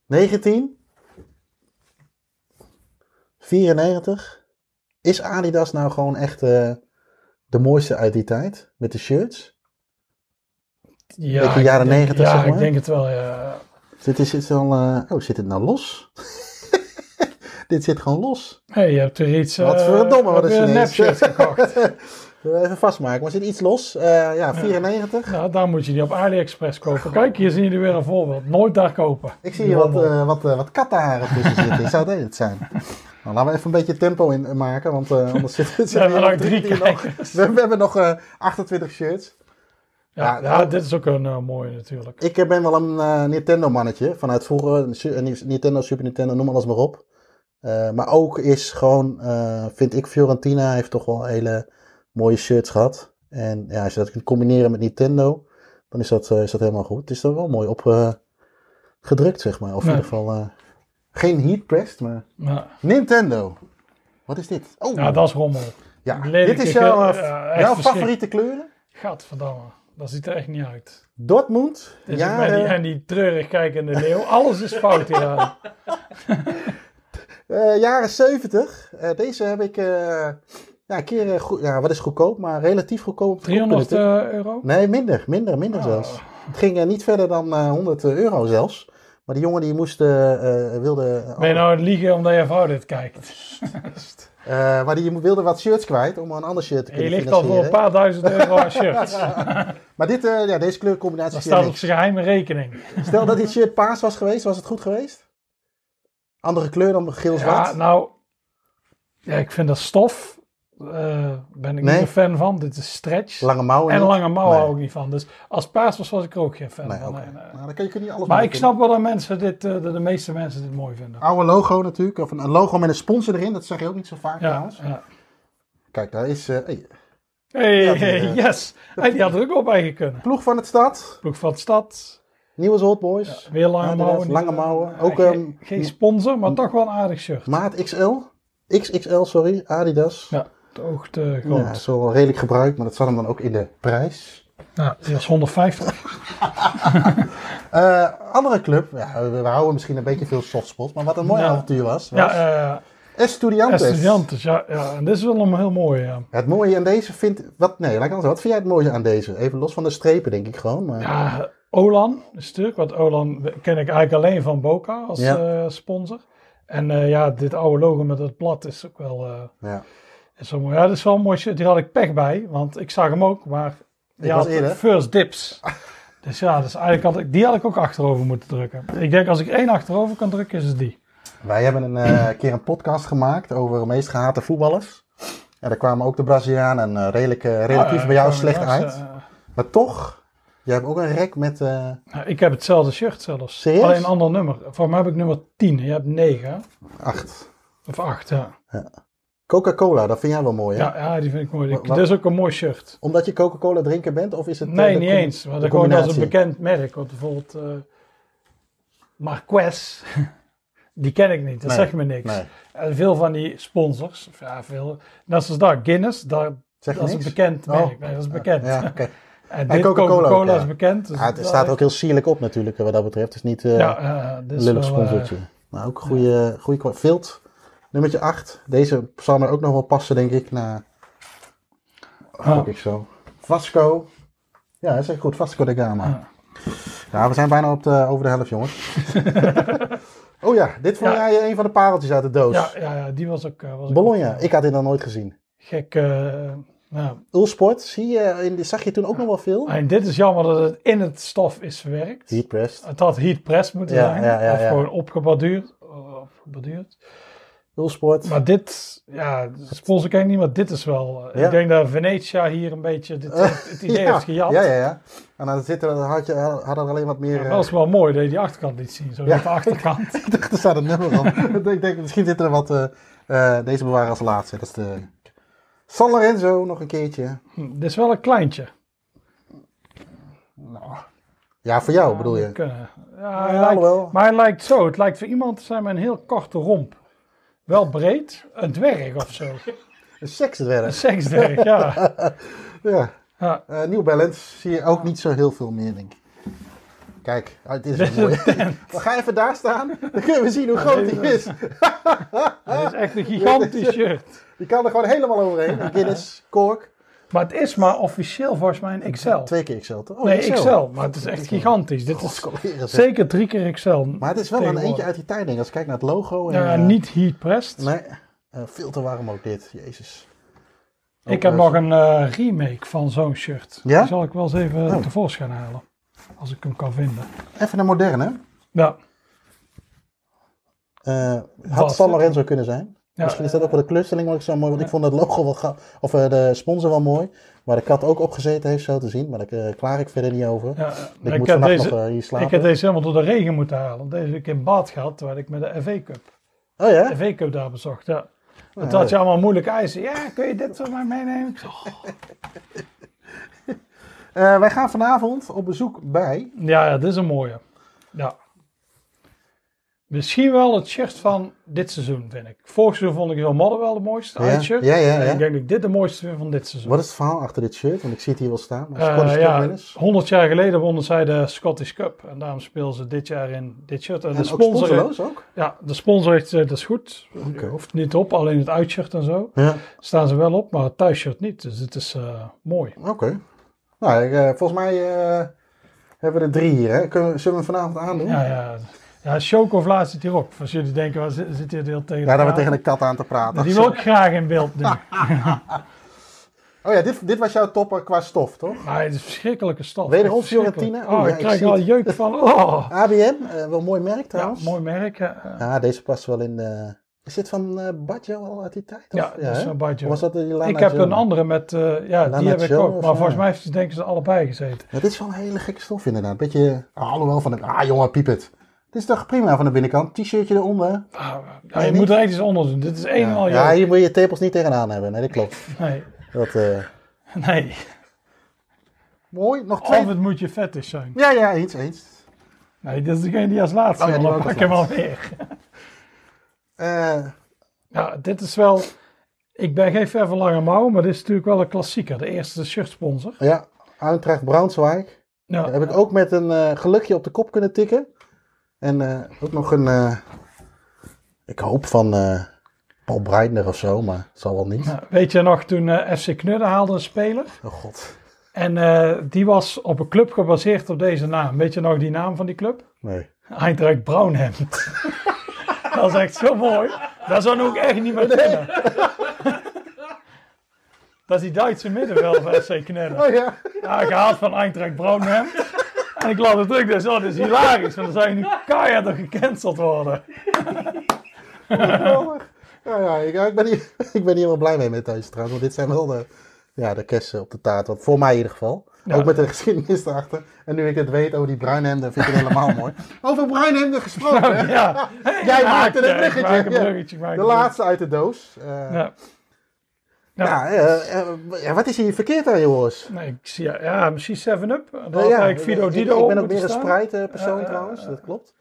D: 19. 94. Is Adidas nou gewoon echt eh, de mooiste uit die tijd? Met de shirts?
C: Ja,
D: Beetje
C: ik
D: jaren
C: denk-
D: 90,
C: Ja,
D: zeg maar.
C: ik denk het wel. Ja.
D: Dit is, dit al, oh, zit het nou los? dit zit gewoon los.
C: Hey, je hebt er iets... eh,
D: Wat verdomme, wat
C: heb
D: is
C: je een
D: Chinees.
C: nep-shirt gekocht.
D: Even vastmaken, maar zit iets los? Eh, ja, 94.
C: nou, daar moet je die op AliExpress kopen. Kijk, hier zien jullie weer een voorbeeld. Nooit daar kopen.
D: Ik zie
C: Die
D: hier wat,
C: rommel.
D: eh wat, eh, wat kattenharen tussen zitten. Zou dat het zijn? Nou, laten we even een beetje tempo in eh, maken, want eh, anders zit het
C: hebben
D: weer
C: nog
D: op
C: drie
D: die nog.
C: kijkers.
D: We, we hebben nog eh, 28 shirts.
C: Ja,
D: Ja,
C: ja,
D: nou-
C: dit is ook een eh, mooie natuurlijk.
D: Ik eh, ben wel een eh, Nintendo-mannetje. Vanuit vroeger, een Su- een Nintendo, Super Nintendo, noem alles maar op. Eh, maar ook is gewoon, eh, vind ik, Fiorentina heeft toch wel hele mooie shirts gehad. En ja, als je dat kunt combineren met Nintendo, dan is dat, eh, is dat helemaal goed. Het is er wel mooi op eh, gedrukt, zeg maar. Of in
C: Ja.
D: ieder geval eh, geen heat pressed, maar...
C: Ja,
D: Nintendo. Wat is dit? Oh,
C: ja dat is rommel.
D: ja.
C: lelijk.
D: dit is
C: Ik,
D: jouw,
C: eh,
D: eh,
C: ja, echt
D: jouw
C: verschrik-
D: favoriete kleuren.
C: Gadverdamme, dat ziet er echt niet uit.
D: Dortmund,
C: Dit is bij die,
D: jaren,
C: en die treurig kijkende leeuw, alles is fout hier aan.
D: eh, jaren 70. Eh, deze heb ik eh, ja, een keer, eh, goed, ja, wat is goedkoop, maar relatief goedkoop op de kop
C: 300
D: kunnen tikken.
C: eh, euro?
D: Nee, minder, minder, minder
C: Oh.
D: zelfs. Het ging eh, niet verder dan eh, 100 eh, euro zelfs. Maar die jongen die moest, eh, eh, wilde...
C: Ben je nou aan het liegen omdat je vrouw dit kijkt?
D: Eh, maar die wilde wat shirts kwijt om een ander shirt te
C: En nou- je
D: kunnen
C: ligt al voor een
D: financieren.
C: paar duizend euro aan shirts.
D: Maar dit, eh, ja, deze kleurcombinatie...
C: Dat
D: ken
C: staat op
D: ik.
C: zijn geheime rekening.
D: Stel dat dit shirt paars was geweest, was het goed geweest? Andere kleur dan geel-zwart?
C: Ja, nou, ja, ik vind dat stof. eh, ben ik
D: Nee.
C: niet een fan van. Dit is stretch.
D: Lange mouwen
C: en
D: niet?
C: lange mouwen
D: Nee.
C: hou ik niet van. Dus als paars was, was ik er ook geen fan
D: Nee,
C: van.
D: oké.
C: Nee, nee.
D: Nou, dan kun je kun je niet alles
C: Maar
D: mee
C: ik
D: doen.
C: snap wel dat mensen dit, eh, dat de meeste mensen dit mooi vinden.
D: Oude logo natuurlijk, of een een logo met een sponsor erin, dat zeg je ook niet zo vaak
C: Ja,
D: trouwens.
C: ja.
D: Kijk, daar is eh, hey,
C: Hey,
D: Ja, die,
C: hey,
D: eh,
C: yes. Hey, die had er ook op eigen kunnen.
D: ploeg van het stad,
C: Ploeg van de stad.
D: nieuwe Old Boys,
C: Weer lange
D: Inderdaad,
C: mouwen. eh,
D: lange mouwen. Ook,
C: Geen-
D: ehm,
C: geen sponsor, maar toch wel een aardig shirt.
D: maat XL, XXL sorry, Adidas. Ja,
C: Ja, het oogt eh,
D: dat
C: groot.
D: is wel redelijk gebruikt, maar dat zat hem dan ook in de prijs.
C: Nou, die was 150.
D: Eh, andere club, ja, we, we houden misschien een beetje veel softspot, maar wat een mooi
C: Ja.
D: avontuur was.
C: Ja,
D: was
C: eh
D: Estudiantes.
C: Estudiantes. Ja, ja, en dit is wel een heel mooi. Ja.
D: Het mooie aan deze vindt, wat, nee, laat ik anders, wat vind jij het mooie aan deze? Even los van de strepen denk ik gewoon, maar
C: Ja, Olan is natuurlijk, want Olan ken ik eigenlijk alleen van Boca als
D: Ja.
C: eh, sponsor. En eh, ja, dit oude logo met dat blad is ook wel, eh,
D: ja.
C: is wel mooi. Ja, dat is wel een mooi shirt. Die had ik pech bij, want ik zag hem ook, maar die
D: was
C: had
D: eerder.
C: first dips. Dus ja, dus eigenlijk had ik, die had ik ook achterover moeten drukken. Ik denk als ik één achterover kan drukken, is het die.
D: Wij hebben een eh, keer een podcast gemaakt over de meest gehate voetballers. En daar kwamen ook de Brazilianen eh, redelijk, eh, relatief
C: Ah,
D: bij jou
C: eh,
D: slecht
C: trouwens,
D: uit.
C: eh,
D: Maar toch, jij hebt ook een rek met... eh,
C: nou, ik heb hetzelfde shirt zelfs.
D: Serieus?
C: Alleen een ander nummer. Voor mij heb ik nummer 10 en je hebt 9
D: Acht.
C: of 8. Ja.
D: Coca-Cola, dat vind jij wel mooi, hè?
C: Ja, ja, die vind ik mooi. Die-
D: Wa- wa-
C: Dit is ook een mooi shirt.
D: Omdat je Coca-Cola drinker bent, of is het... eh,
C: Nee,
D: de
C: niet
D: com-
C: eens. Maar
D: de
C: dat gewoon als een
D: combinatie?
C: bekend merk. Want bijvoorbeeld eh Marquez, die ken ik niet. Dat
D: Nee,
C: zegt me niks.
D: Nee,
C: En veel van die sponsors, of ja, veel. Net zoals daar, Guinness, daar,
D: zeg je
C: dat is een
D: niks?
C: bekend
D: Oh.
C: merk. Nee, dat is bekend.
D: Ja, oké.
C: En dit
D: Coca-Cola
C: Coca-Cola,
D: ook, ja.
C: is bekend. Dus
D: Ah, het
C: dat-
D: staat ook heel sierlijk op natuurlijk, eh, wat dat betreft. Het is niet eh,
C: Ja, eh, dit
D: een
C: is
D: lullig
C: wel, eh,
D: sponsortje. maar ook een goede, goede kwa- Vilt, nummertje 8. Deze zal me ook nog wel passen, denk ik, na...
C: Ah.
D: Gok ik zo. Vasco. Ja, dat is echt goed. Vasco da Gama.
C: Ja.
D: Nou, we zijn bijna op de, over de helft, jongens. oh ja, dit vond
C: Ja.
D: jij een van de pareltjes uit de doos.
C: eh, ja, ja, ja, die was ook. eh, was ook
D: Bologna, ik had dit nog nooit gezien.
C: Gek. eh, nou,
D: Ulsport, zie je, eh, in, die- zag je toen ook nog wel veel?
C: en dit is jammer dat het in het stof is verwerkt.
D: Heat pressed.
C: Het had heat press moeten
D: Ja,
C: zijn.
D: ja, ja,
C: of
D: ja.
C: gewoon opgeborduurd. eh, opgeborduurd.
D: Ulsport.
C: Maar dit, ja, de sponsor ken ik niet, maar dit is wel. eh,
D: Ja.
C: Ik denk dat Venetia hier een beetje dit, het idee
D: ja.
C: heeft gejat.
D: Ja, ja, ja. En dan zitten, dan had je, hadden er alleen wat meer...
C: Maar
D: eh,
C: Dat is wel mooi dat je die achterkant liet zien. Zo
D: Ja.
C: met de achterkant.
D: ik dacht, er staat een nummer op. ik denk, misschien zitten er wat... eh, eh, deze bewaren als laatste. Dat is de... San Lorenzo, nog een keertje.
C: Hm, dit is wel een kleintje.
D: Ja, voor jou bedoel je.
C: Kunnen. Ja, hij
D: Ja,
C: lijkt-
D: alhoewel.
C: maar hij lijkt zo. Het lijkt voor iemand te zijn met een heel korte romp. Wel breed. Een dwerg of zo.
D: Een seksdwerg.
C: Een seksdwerg, ja.
D: Ja.
C: ja.
D: Eh New Balance zie je ook niet zo heel veel meer, denk ik. Kijk, ah, dit
C: Dit
D: is
C: is
D: wel mooi.
C: een
D: We gaan even daar staan, dan kunnen we zien hoe groot die is.
C: Dit is echt een gigantisch shirt.
D: Die kan er gewoon helemaal overheen. Een Guinness, Cork,
C: Maar het is maar officieel volgens mij een XL.
D: twee keer XL toch? Oh,
C: nee, XL. Maar het is echt gigantisch. Dit is
D: Scaleren ze.
C: zeker drie keer XL.
D: Maar het is wel een
C: Tegenwoordig.
D: eentje uit die tijd, denk ik. Als ik kijk naar het logo. En,
C: Ja,
D: eh,
C: niet heat pressed.
D: Nee, eh, veel te warm ook dit. Jezus.
C: ik heb
D: eh,
C: nog een eh, remake van zo'n shirt.
D: Ja?
C: Die zal ik wel eens even
D: Oh.
C: tevoorschijn halen. Als ik hem kan vinden.
D: Even een moderne.
C: Ja.
D: Eh had
C: Wat?
D: San Lorenzo kunnen zijn.
C: Ja,
D: Misschien is dat ook wel de klusteling wat ik zo mooi, want ik vond het logo wel gaaf, of eh, de sponsor wel mooi, waar de kat ook op gezeten heeft zo te zien, maar daar eh, klaar ik verder niet over.
C: Ja,
D: Ik,
C: ik,
D: moet
C: heb
D: vannacht
C: deze,
D: nog eh, hier slapen.
C: ik heb deze helemaal door de regen moeten halen. Deze heb ik in baat gehad terwijl ik met de FA Cup,
D: Oh ja?
C: FA Cup daar bezocht. Ja.
D: Nou,
C: Dat had je allemaal moeilijk eisen. Ja, kun je dit voor mij meenemen? Ik zeg, oh.
D: Eh, wij gaan vanavond op bezoek bij...
C: Ja, ja, dit is een mooie. Ja. Misschien wel het shirt van dit seizoen, vind ik. Vorig seizoen vond ik heel modder wel de mooiste
D: Ja,
C: uitshirt.
D: ja, ja,
C: En
D: ja.
C: Ik denk dat ik dit de mooiste vind van dit seizoen.
D: Wat is het verhaal achter dit shirt? Want ik zie het hier wel staan. Maar
C: Eh,
D: Scottish Cup
C: ja,
D: winners.
C: 100 jaar geleden wonnen zij de Scottish Cup. En daarom spelen ze dit jaar in dit shirt. En,
D: En
C: de,
D: ook
C: sponsor,
D: sponsorloos ook?
C: ja, de sponsor heeft, eh, dat is goed. Je Hoeft niet op, alleen het uitshirt en zo.
D: Ja,
C: Staan ze wel op, maar het thuisshirt niet. Dus het is eh, mooi.
D: oké. Nou, ik, eh, volgens mij eh, hebben we er drie hier. Hè? Kunnen, we- zullen we hem vanavond aandoen?
C: Ja, ja. Ja, chocovla zit hier ook. Als jullie denken, waar zit, zit hier de hele tegen
D: Ja, daar we
C: elkaar?
D: tegen een kat aan te praten.
C: Dus Die wil ik graag in beeld nu.
D: Ah. Oh ja, dit, dit was jouw topper qua stof, toch?
C: Maar het is verschrikkelijke stof.
D: Wederom
C: Verschrikkelijk.
D: Fiorentina?
C: Oh,
D: Oh, ja,
C: ik
D: ik
C: krijg
D: zie
C: er al
D: het.
C: jeuk van. Oh.
D: ABM, eh, wel mooi merk
C: Ja,
D: trouwens.
C: mooi merk. eh,
D: Ja, deze past wel in de... Is dit van eh Baggio al uit die tijd? of-
C: ja, dat is
D: hè?
C: wel Baggio.
D: Of was dat de Lana
C: ik heb
D: Jones?
C: een andere met, eh, ja,
D: Lana
C: die heb ik
D: Jones,
C: ook. Maar
D: ja.
C: volgens mij heeft ze denken ze allebei gezeten.
D: Ja, dit is wel een hele gekke stof inderdaad. Beetje, ah, alhoewel van het, ah jongen, piep het. Dit is toch prima van de binnenkant. T-shirtje eronder.
C: Ah, ja,
D: Nee,
C: je
D: niet.
C: moet er echt iets onder doen. Dit is één en al
D: ja,
C: jeuk.
D: hier moet je je tepels niet tegenaan hebben. Nee, dat klopt.
C: Nee,
D: Dat, eh,
C: nee.
D: mooi, nog twee.
C: Of het moet je fetish zijn.
D: Ja, ja, eens, eens.
C: Nee, dit is degene die als laatste
D: Oh ja, die
C: wil.
D: wou
C: Dan
D: ik als
C: pak hem alweer.
D: Eh,
C: Ja, Nou, dit is wel... Ik ben geen ver van lange mouw, maar dit is natuurlijk wel een klassieker. De eerste shirtsponsor.
D: oh
C: Nou,
D: ja, Eintracht Braunschweig.
C: Ja,
D: Daar heb ik ook met een eh, gelukje op de kop kunnen tikken. En eh, ook nog een, eh, ik hoop van eh, Paul Breitner of zo, maar het zal wel niet.
C: Nou, weet je nog, toen eh, FC Knudden haalde een speler.
D: Oh god,
C: En eh, die was op een club gebaseerd op deze naam. Weet je nog die naam van die club?
D: nee.
C: Eintracht Braunhem. dat is echt zo mooi. Dat zou ook echt niet meer kunnen. dat is die Duitse middenvelder FC Knudden.
D: Oh ja,
C: Ja, gehaald van Eintracht Braunhem. En ik las het ook, dus oh, dat is hilarisch. Want dan zou je nu keihard nog gecanceld worden.
D: geweldig. Ja, ja, ik, ja, ik ben hier, ik ben hier wel blij mee met deze trouwens, want dit zijn wel de, ja, de kersen op de taart. Want voor mij in ieder geval.
C: Ja.
D: Ook met de geschiedenis erachter. En nu ik het weet over die bruinhemden, vind ik het helemaal mooi. Over bruinhemden gesproken. hè?
C: Ja.
D: Jij
C: Ja,
D: maakte
C: ja,
D: het
C: ik
D: bruggetje.
C: maak een
D: ja.
C: bruggetje, ik maak
D: de
C: een
D: laatste uit de doos. Eh,
C: bruggetje. Ja. Ja,
D: ja, eh, eh, ja, wat is hier verkeerd aan, jongens?
C: Nee, ik zie, ja, ja, misschien 7-Up. Dan
D: Nou ja,
C: had ik Vido
D: ik-
C: Oh, Dido
D: Ik
C: op
D: ben ook
C: moeten
D: meer een
C: staan.
D: Sprite eh, persoon
C: Ja, ja,
D: trouwens,
C: ja.
D: dat klopt.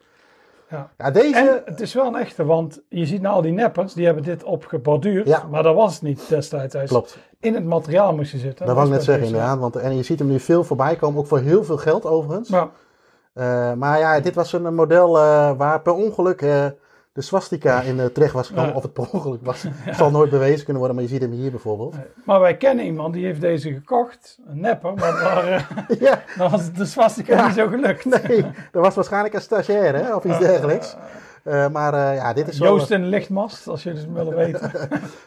C: Ja.
D: Ja, deze...
C: En het is wel een echte, want je ziet nou al die neppers, die hebben dit opgeborduurd.
D: Ja.
C: Maar dat was het niet destijds. Hij is-
D: Klopt,
C: In het materiaal moest je zitten.
D: dat wou ik net
C: was
D: zeggen
C: bij deze.
D: inderdaad. Want, en je ziet hem nu veel voorbij komen, ook voor heel veel geld overigens.
C: Ja,
D: Eh, maar ja, dit was een model eh, waar per ongeluk eh, de swastika in eh, terecht was gekomen.
C: Ja.
D: Of het per ongeluk was, zal nooit bewezen kunnen worden. Maar je ziet hem hier bijvoorbeeld.
C: maar wij kennen iemand die heeft deze gekocht. Een nepper, maar daar, eh,
D: Ja,
C: daar was het de swastika niet zo gelukt.
D: nee, dat was waarschijnlijk een stagiair hè, of iets dergelijks. Eh, maar eh, ja, dit is wel...
C: Joost in de lichtmast, als jullie het willen weten.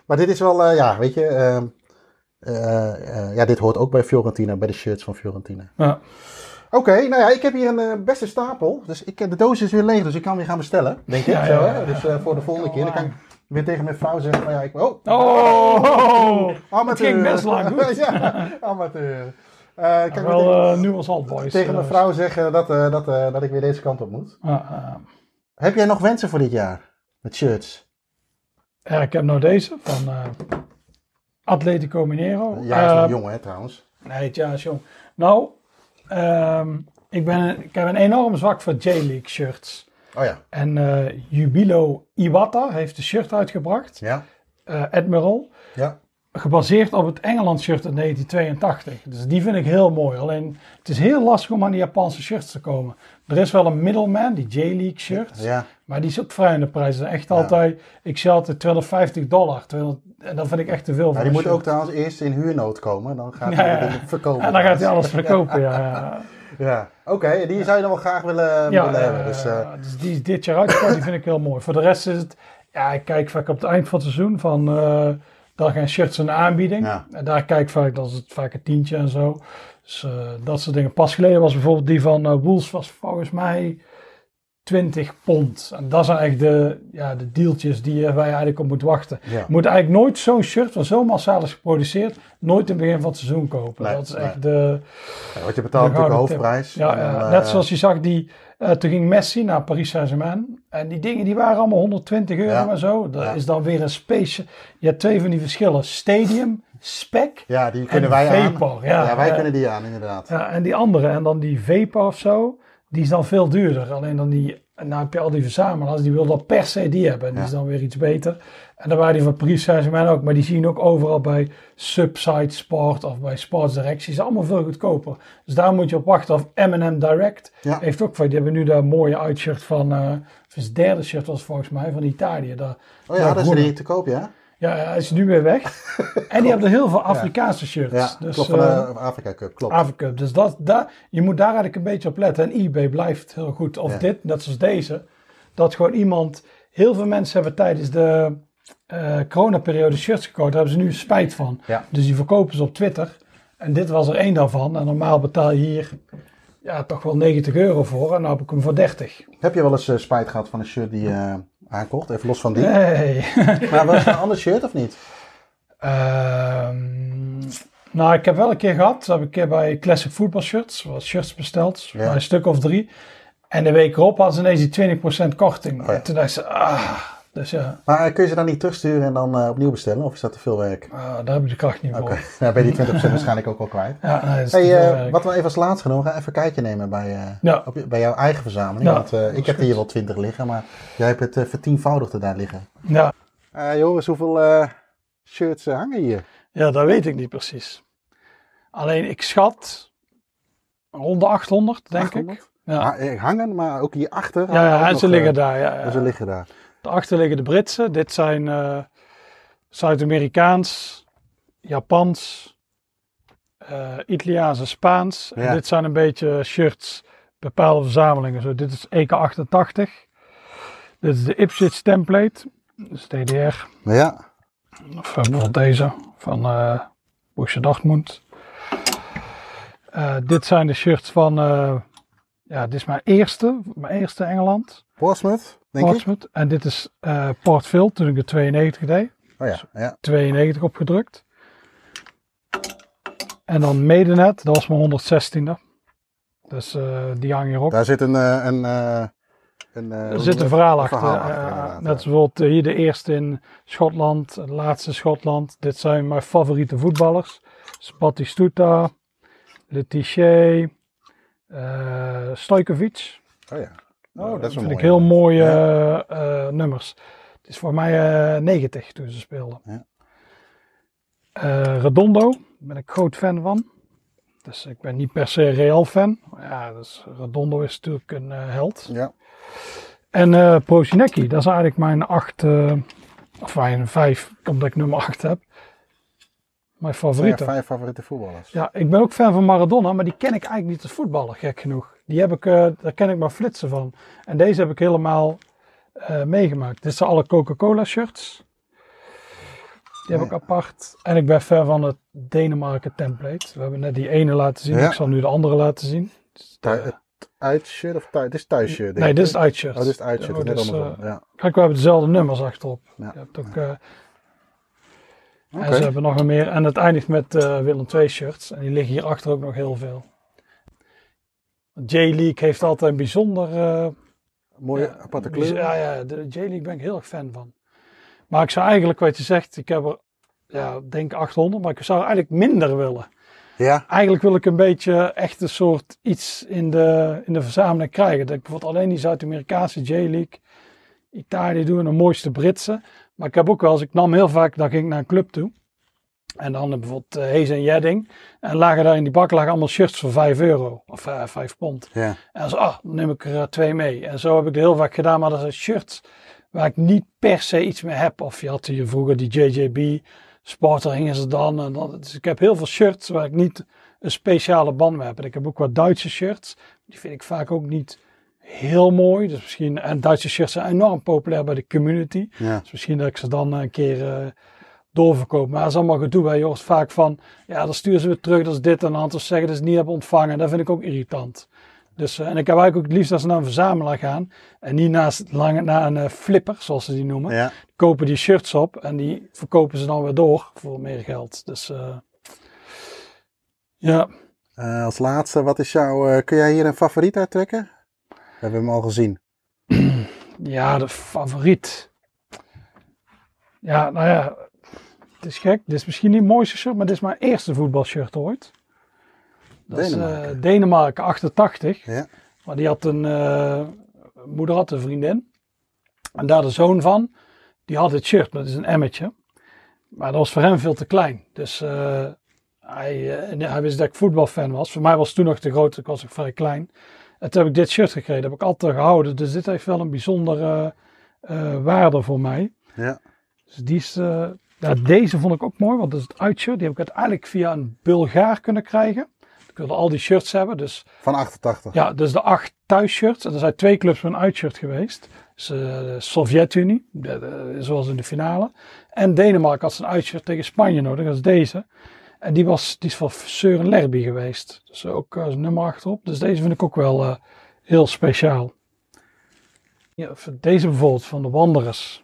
D: Maar dit is wel, eh, ja, weet je, ehm, eh, eh, ja, dit hoort ook bij Fiorentina, bij de shirts van Fiorentina.
C: Ja.
D: Oké, nou ja, ik heb hier een eh, beste stapel. Dus ik, eh, de doos is weer leeg, dus ik kan weer gaan bestellen. Denk ik,
C: Ja,
D: zo,
C: ja,
D: hè? Dus eh, voor de volgende keer. Dan kan ik weer tegen mijn vrouw zeggen, maar ja, ik... Oh,
C: Oh, het
D: amateur.
C: ging best lang goed.
D: ja, amateur. Eh, kan ik weer
C: Wel
D: tegen,
C: eh, nu als Alt Boys.
D: tegen mijn
C: eh,
D: vrouw zeggen dat, eh, dat, eh, dat ik weer deze kant op moet.
C: ah, ah.
D: Heb jij nog wensen voor dit jaar? Met shirts?
C: Ja, ik heb nou deze van eh, Atletico Mineiro.
D: Jij is
C: Eh,
D: nog jong, hè, trouwens.
C: Nee, het jaar is jong. Nou, ehm, ik, ben, ik heb een enorm zwak voor J-League shirts.
D: Oh ja,
C: En eh, Jubilo Iwata heeft een shirt uitgebracht,
D: ja,
C: eh, Admiral,
D: ja.
C: gebaseerd op het Engeland shirt uit 1982. Dus die vind ik heel mooi. Alleen, het is heel lastig om aan die Japanse shirts te komen. Er is wel een middleman, die J-League shirt.
D: Ja,
C: Maar die is ook vrij in de prijs. Dat is Echt altijd, ik zie altijd 250 dollar. 200, en dat vind ik echt te veel. voor
D: Ja, Nou, die
C: een
D: moet
C: shirt.
D: ook trouwens eerst in huurnood komen. Dan gaat
C: dus, eh, Ja,
D: hij
C: ja.
D: het verkopen.
C: En dan gaat hij alles verkopen, ja. ja.
D: Ja. Oké, die zou je dan wel graag willen,
C: Ja,
D: willen hebben.
C: eh,
D: Dus, eh,
C: dus die is dit jaar uitgekomen, die vind ik heel mooi. Voor de rest is het, ja, ik kijk vaak op het eind van het seizoen van, eh daar gaan shirts een aanbieding.
D: Ja.
C: En daar kijk ik vaak, dat is het vaak een tientje en zo. Dus eh, dat soort dingen. Pas geleden was bijvoorbeeld die van eh Wolves was volgens mij 20 pond. En dat zijn echt de, ja, de deeltjes die je- waar je eigenlijk op moet wachten.
D: ja.
C: Je moet eigenlijk nooit zo'n shirt, wat zo massaal is geproduceerd, nooit in het begin van het seizoen kopen.
D: Nee,
C: dat is
D: nee.
C: echt de...
D: Ja, Want je betaalt
C: De
D: natuurlijk de
C: gouden tip.
D: hoofdprijs.
C: Ja,
D: En,
C: ja,
D: eh,
C: net zoals je zag, die, eh, toen ging Messi naar Paris Saint-Germain. En die dingen die waren allemaal 120 euro
D: Ja.
C: en zo. Dat
D: Ja.
C: is dan weer een space. Je hebt twee van die verschillen. Stadium, spec.
D: Ja, die kunnen
C: en
D: wij aan.
C: Vapor, ja.
D: Ja, wij
C: Eh,
D: kunnen die aan, inderdaad.
C: ja, en die andere. En dan die Vapor of zo. Die is dan veel duurder. Alleen dan die... En dan heb je al die verzamelaars. Die wil dan per se die hebben. En die
D: Ja.
C: is dan weer iets beter. En dan waren die van Paris Saint-Germain ook. Maar die zien ook overal bij Subside Sport of bij Sports Direct. Die zijn allemaal veel goedkoper. Dus daar moet je op wachten. Of M&M Direct.
D: Ja.
C: Heeft ook van, die hebben nu dat mooie uitshirt van, eh, of is het derde shirt was het volgens mij, van Italië. Daar,
D: Oh ja, dat is
C: groene.
D: die te koop, ja?
C: Ja, hij is nu weer weg. en die hebben er heel veel Afrikaanse shirts.
D: Ja,
C: dus,
D: klopt, van de
C: eh,
D: Afrika Cup, klopt.
C: Afrika. Dus dat, daar, je moet daar eigenlijk een beetje op letten. En eBay blijft heel goed. Of
D: Ja.
C: dit, net zoals deze. dat gewoon iemand... Heel veel mensen hebben tijdens de eh coronaperiode shirts gekocht. Daar hebben ze nu spijt van.
D: Ja.
C: Dus die verkopen ze op Twitter. En dit was er één daarvan. En normaal betaal je hier ja, toch wel 90 euro voor. En nou heb ik hem voor 30.
D: Heb je wel eens eh, spijt gehad van een shirt die je aankocht? Even los van die.
C: Nee.
D: Maar was het een ander shirt of niet?
C: Ehm, nou, ik heb wel een keer gehad. Dat heb ik een keer bij Classic Football Shirts. Wat shirts besteld.
D: Ja.
C: maar Een stuk of drie. En de week erop hadden ze ineens die 20% korting.
D: Oh ja.
C: En toen dacht ze, ah. Dus ja,
D: Maar eh, kun je ze dan niet terugsturen en dan eh, opnieuw bestellen? Of is dat te veel werk?
C: ah, daar heb ik de kracht niet voor.
D: Oké, nou ben je die 20% waarschijnlijk ook al kwijt.
C: Ja, nee, dat is
D: Hey,
C: te
D: eh,
C: veel werk.
D: wat we even als laatste gaan doen, ga even een kijkje nemen bij, eh,
C: Ja.
D: op je- bij jouw eigen verzameling.
C: Ja,
D: want eh, ik heb hier wel 20 liggen, maar jij hebt het eh, vertienvoudigde daar liggen.
C: ja.
D: Eh Joris, hoeveel eh, shirts eh, hangen hier?
C: ja, dat weet ik niet precies. Alleen ik schat rond de 800, denk
D: 800?
C: ik. Ja,
D: Ah, eh, hangen, maar ook hierachter.
C: ja, ja,
D: hangen ook
C: en ze
D: nog,
C: liggen
D: eh,
C: daar. Ja, ja.
D: en ze liggen daar.
C: Daarachter liggen de Britse. Dit zijn eh, Zuid-Amerikaans, Japans, eh, Italiaans en Spaans. En
D: Ja.
C: dit zijn een beetje shirts, bepaalde verzamelingen. Zo, dit is EK88. Dit is de Ipswich template. Dus DDR.
D: Maar ja,
C: Of eh, bijvoorbeeld deze van eh Borussia Dortmund. Eh, dit zijn de shirts van, eh, ja, dit is mijn eerste, mijn eerste Engeland.
D: Portsmouth, denk
C: Portsmouth. En dit is eh Port Phil, toen ik de 92 deed.
D: ik. Oh ja, ja.
C: 92 opgedrukt. En dan Medenet, dat was mijn 116e. Dus eh, die hang hierop.
D: daar zit een... eh, een, eh, een eh,
C: Er zit een verhaal achter.
D: verhaal
C: eh,
D: inderdaad,
C: net
D: ja.
C: zoals hier de eerste in Schotland, de laatste in Schotland. Dit zijn mijn favoriete voetballers. Dus Batistuta, Letiché, eh Stojkovic.
D: Oh ja. Oh, dat is een
C: vind
D: mooie.
C: ik heel mooie eh, eh, nummers. Het is voor mij eh 90 toen ze speelden.
D: Ja.
C: Eh, Redondo, daar ben ik groot fan van. Dus ik ben niet per se Real fan. Maar ja, dus Redondo is natuurlijk een eh, held.
D: Ja.
C: En eh Prozinecki, dat is eigenlijk mijn 8, of mijn 5, omdat ik nummer 8 heb. Mijn
D: Vijf,
C: favoriete.
D: vijf favoriete voetballers.
C: Ja, ik ben ook fan van Maradona, maar die ken ik eigenlijk niet als voetballer, gek genoeg. Die heb ik, eh, daar ken ik maar flitsen van. En deze heb ik helemaal eh, meegemaakt. Dit zijn alle Coca-Cola shirts. Die heb ik apart. En ik ben fan van het Denemarken template. We hebben net die ene laten zien.
D: Ja.
C: Ik zal nu de andere laten zien.
D: Thui- het uitshirt of thuis? Dit is thuisshirt, denk
C: Nee,
D: ik.
C: dit is het uitshirt.
D: Oh, dit is het uitshirt.
C: Oh,
D: net
C: dus,
D: andersom.
C: eh,
D: ja.
C: Kijk, we hebben dezelfde nummers achterop.
D: Ja.
C: Je hebt ook, eh, En
D: Oké.
C: ze hebben nog een meer. En het eindigt met eh, Willem II shirts. En die liggen hierachter ook nog heel veel. J-League heeft altijd een bijzonder... eh,
D: Mooie
C: ja,
D: aparte
C: bijz-
D: kleur.
C: Ja, ja, de J-League ben ik heel erg fan van. Maar ik zou eigenlijk, wat je zegt, ik heb er, ja, denk 800, maar ik zou er eigenlijk minder willen.
D: Ja.
C: Eigenlijk wil ik een beetje echt een soort iets in de, in de verzameling krijgen. Dat ik bijvoorbeeld alleen die Zuid-Amerikaanse J-League, Italië doe en de mooiste Britse. Maar ik heb ook wel eens, ik nam heel vaak, dan ging ik naar een club toe. En dan eh, bijvoorbeeld eh, Hees en Jedding. En lagen daar in die bak lagen allemaal shirts voor 5 euro of eh, 5 pond.
D: Ja.
C: En zo, ah, dan neem ik er eh, twee mee. En zo heb ik het heel vaak gedaan, maar dat zijn shirts waar ik niet per se iets mee heb. Of je had hier vroeger die JJB, Sporter hingen ze dan. En dat, dus ik heb heel veel shirts waar ik niet een speciale band mee heb. En ik heb ook wat Duitse shirts. Die vind ik vaak ook niet heel mooi. Dus misschien, en Duitse shirts zijn enorm populair bij de community.
D: Ja.
C: Dus misschien dat ik ze dan een keer eh, doorverkoop. Maar dat is allemaal gedoe. Hè. Je hoort vaak van, ja, dan sturen ze weer terug, dat is dit en dat. Of ze zeggen dat ze het niet hebben ontvangen. Dat vind ik ook irritant. Dus, eh, en ik heb eigenlijk ook het liefst dat ze naar een verzamelaar gaan. En niet naast, lange, naar een eh, flipper, zoals ze die noemen.
D: Ja.
C: Kopen die shirts op en die verkopen ze dan weer door voor meer geld. Dus eh, ja,
D: Eh, als laatste, wat is jouw... eh, kun jij hier een favoriet uit trekken? We hebben hem al gezien.
C: ja, de favoriet. Ja, nou ja, het is gek. Dit is misschien niet het mooiste shirt, maar dit is mijn eerste voetbalshirt ooit. Dat is eh,
D: Denemarken.
C: Denemarken 88.
D: Ja.
C: Maar die had een eh, moeder had een vriendin. En daar de zoon van, die had het shirt, maar dat is een emmetje. Maar dat was voor hem veel te klein. Dus eh, hij, eh, en hij wist dat ik voetbalfan was. Voor mij was het toen nog te groot, ik was nog vrij klein. En toen heb ik dit shirt gekregen, dat heb ik altijd gehouden. Dus dit heeft wel een bijzondere eh, waarde voor mij.
D: Ja.
C: Dus die is, eh, ja, deze vond ik ook mooi, want dat is het uitshirt. Die heb ik uiteindelijk via een Bulgaar kunnen krijgen. Ik wilde al die shirts hebben, dus
D: Van 88.
C: ja, dus de acht thuisshirts. En er zijn twee clubs met een uitshirt geweest. Dus, eh, de Sovjet-Unie, de- de- zoals in de finale. En Denemarken had zijn uitshirt tegen Spanje nodig, dat is deze. En die, was, die is van Søren Lerby geweest. Dus ook eh, nummer achterop. Dus deze vind ik ook wel eh, heel speciaal. Ja, voor deze bijvoorbeeld van de Wanderers.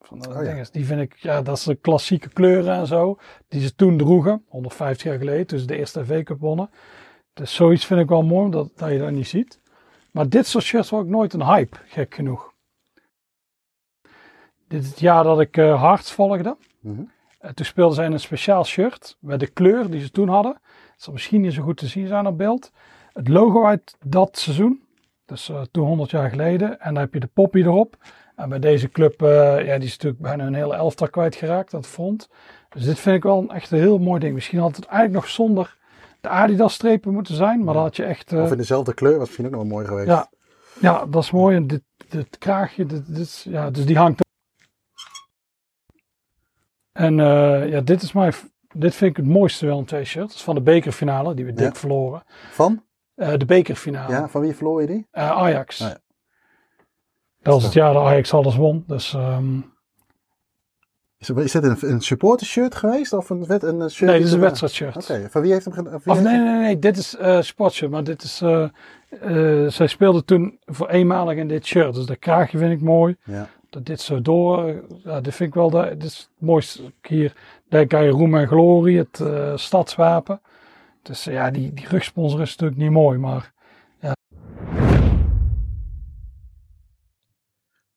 C: Van de
D: ja.
C: dinges, die vind ik, ja, dat is de klassieke kleuren en zo. Die ze toen droegen, 150 jaar geleden, toen ze de eerste V-Cup wonnen. Dus zoiets vind ik wel mooi, dat, dat je dat niet ziet. Maar dit soort shirts was ook nooit een hype, gek genoeg. Dit is het jaar dat ik eh Hearts volgde.
D: Mhm.
C: En toen speelden zij in een speciaal shirt met de kleur die ze toen hadden. Het zal misschien niet zo goed te zien zijn op beeld. Het logo uit dat seizoen, dus eh, toen 100 jaar geleden. En dan heb je de poppy erop. En bij deze club, eh, ja, die is natuurlijk bijna een hele elftal kwijtgeraakt, dat front. Dus dit vind ik wel een, echt een heel mooi ding. Misschien had het eigenlijk nog zonder de Adidas-strepen moeten zijn, maar dan had je echt... eh,
D: Of in dezelfde kleur was misschien ook nog wel mooi geweest.
C: ja, ja, dat is mooi. En dit, dit kraagje, dit, dit is- ja, dus die hangt. En eh, ja, dit is mijn, dit vind ik het mooiste wel een t-shirt. Dat is van de bekerfinale, die we dik
D: Ja.
C: verloren.
D: Van?
C: Eh, de bekerfinale,
D: Ja, van E wie verloor je die?
C: Eh, Ajax.
D: Ah, ja.
C: Dat was het jaar dat Ajax alles won. Dus ehm,
D: Is het, is het een, een supportershirt geweest? Of een, wet, een
C: nee,
D: shirt?
C: dit
D: die
C: is een
D: ze-
C: wedstrijdshirt.
D: eh, Oké, van wie heeft hem gedaan?
C: Of nee, nee, nee, dit is eh sportshirt, maar dit is... eh, eh, zij speelde toen voor eenmalig in dit shirt, dus dat kraagje vind ik mooi.
D: Ja.
C: dat dit zo door. eh, Ja, dit vind ik wel de, dit is het mooiste hier. Denk aan je roem en glorie, het eh, stadswapen. Dus eh, ja, die, die rugsponsor is natuurlijk niet mooi, maar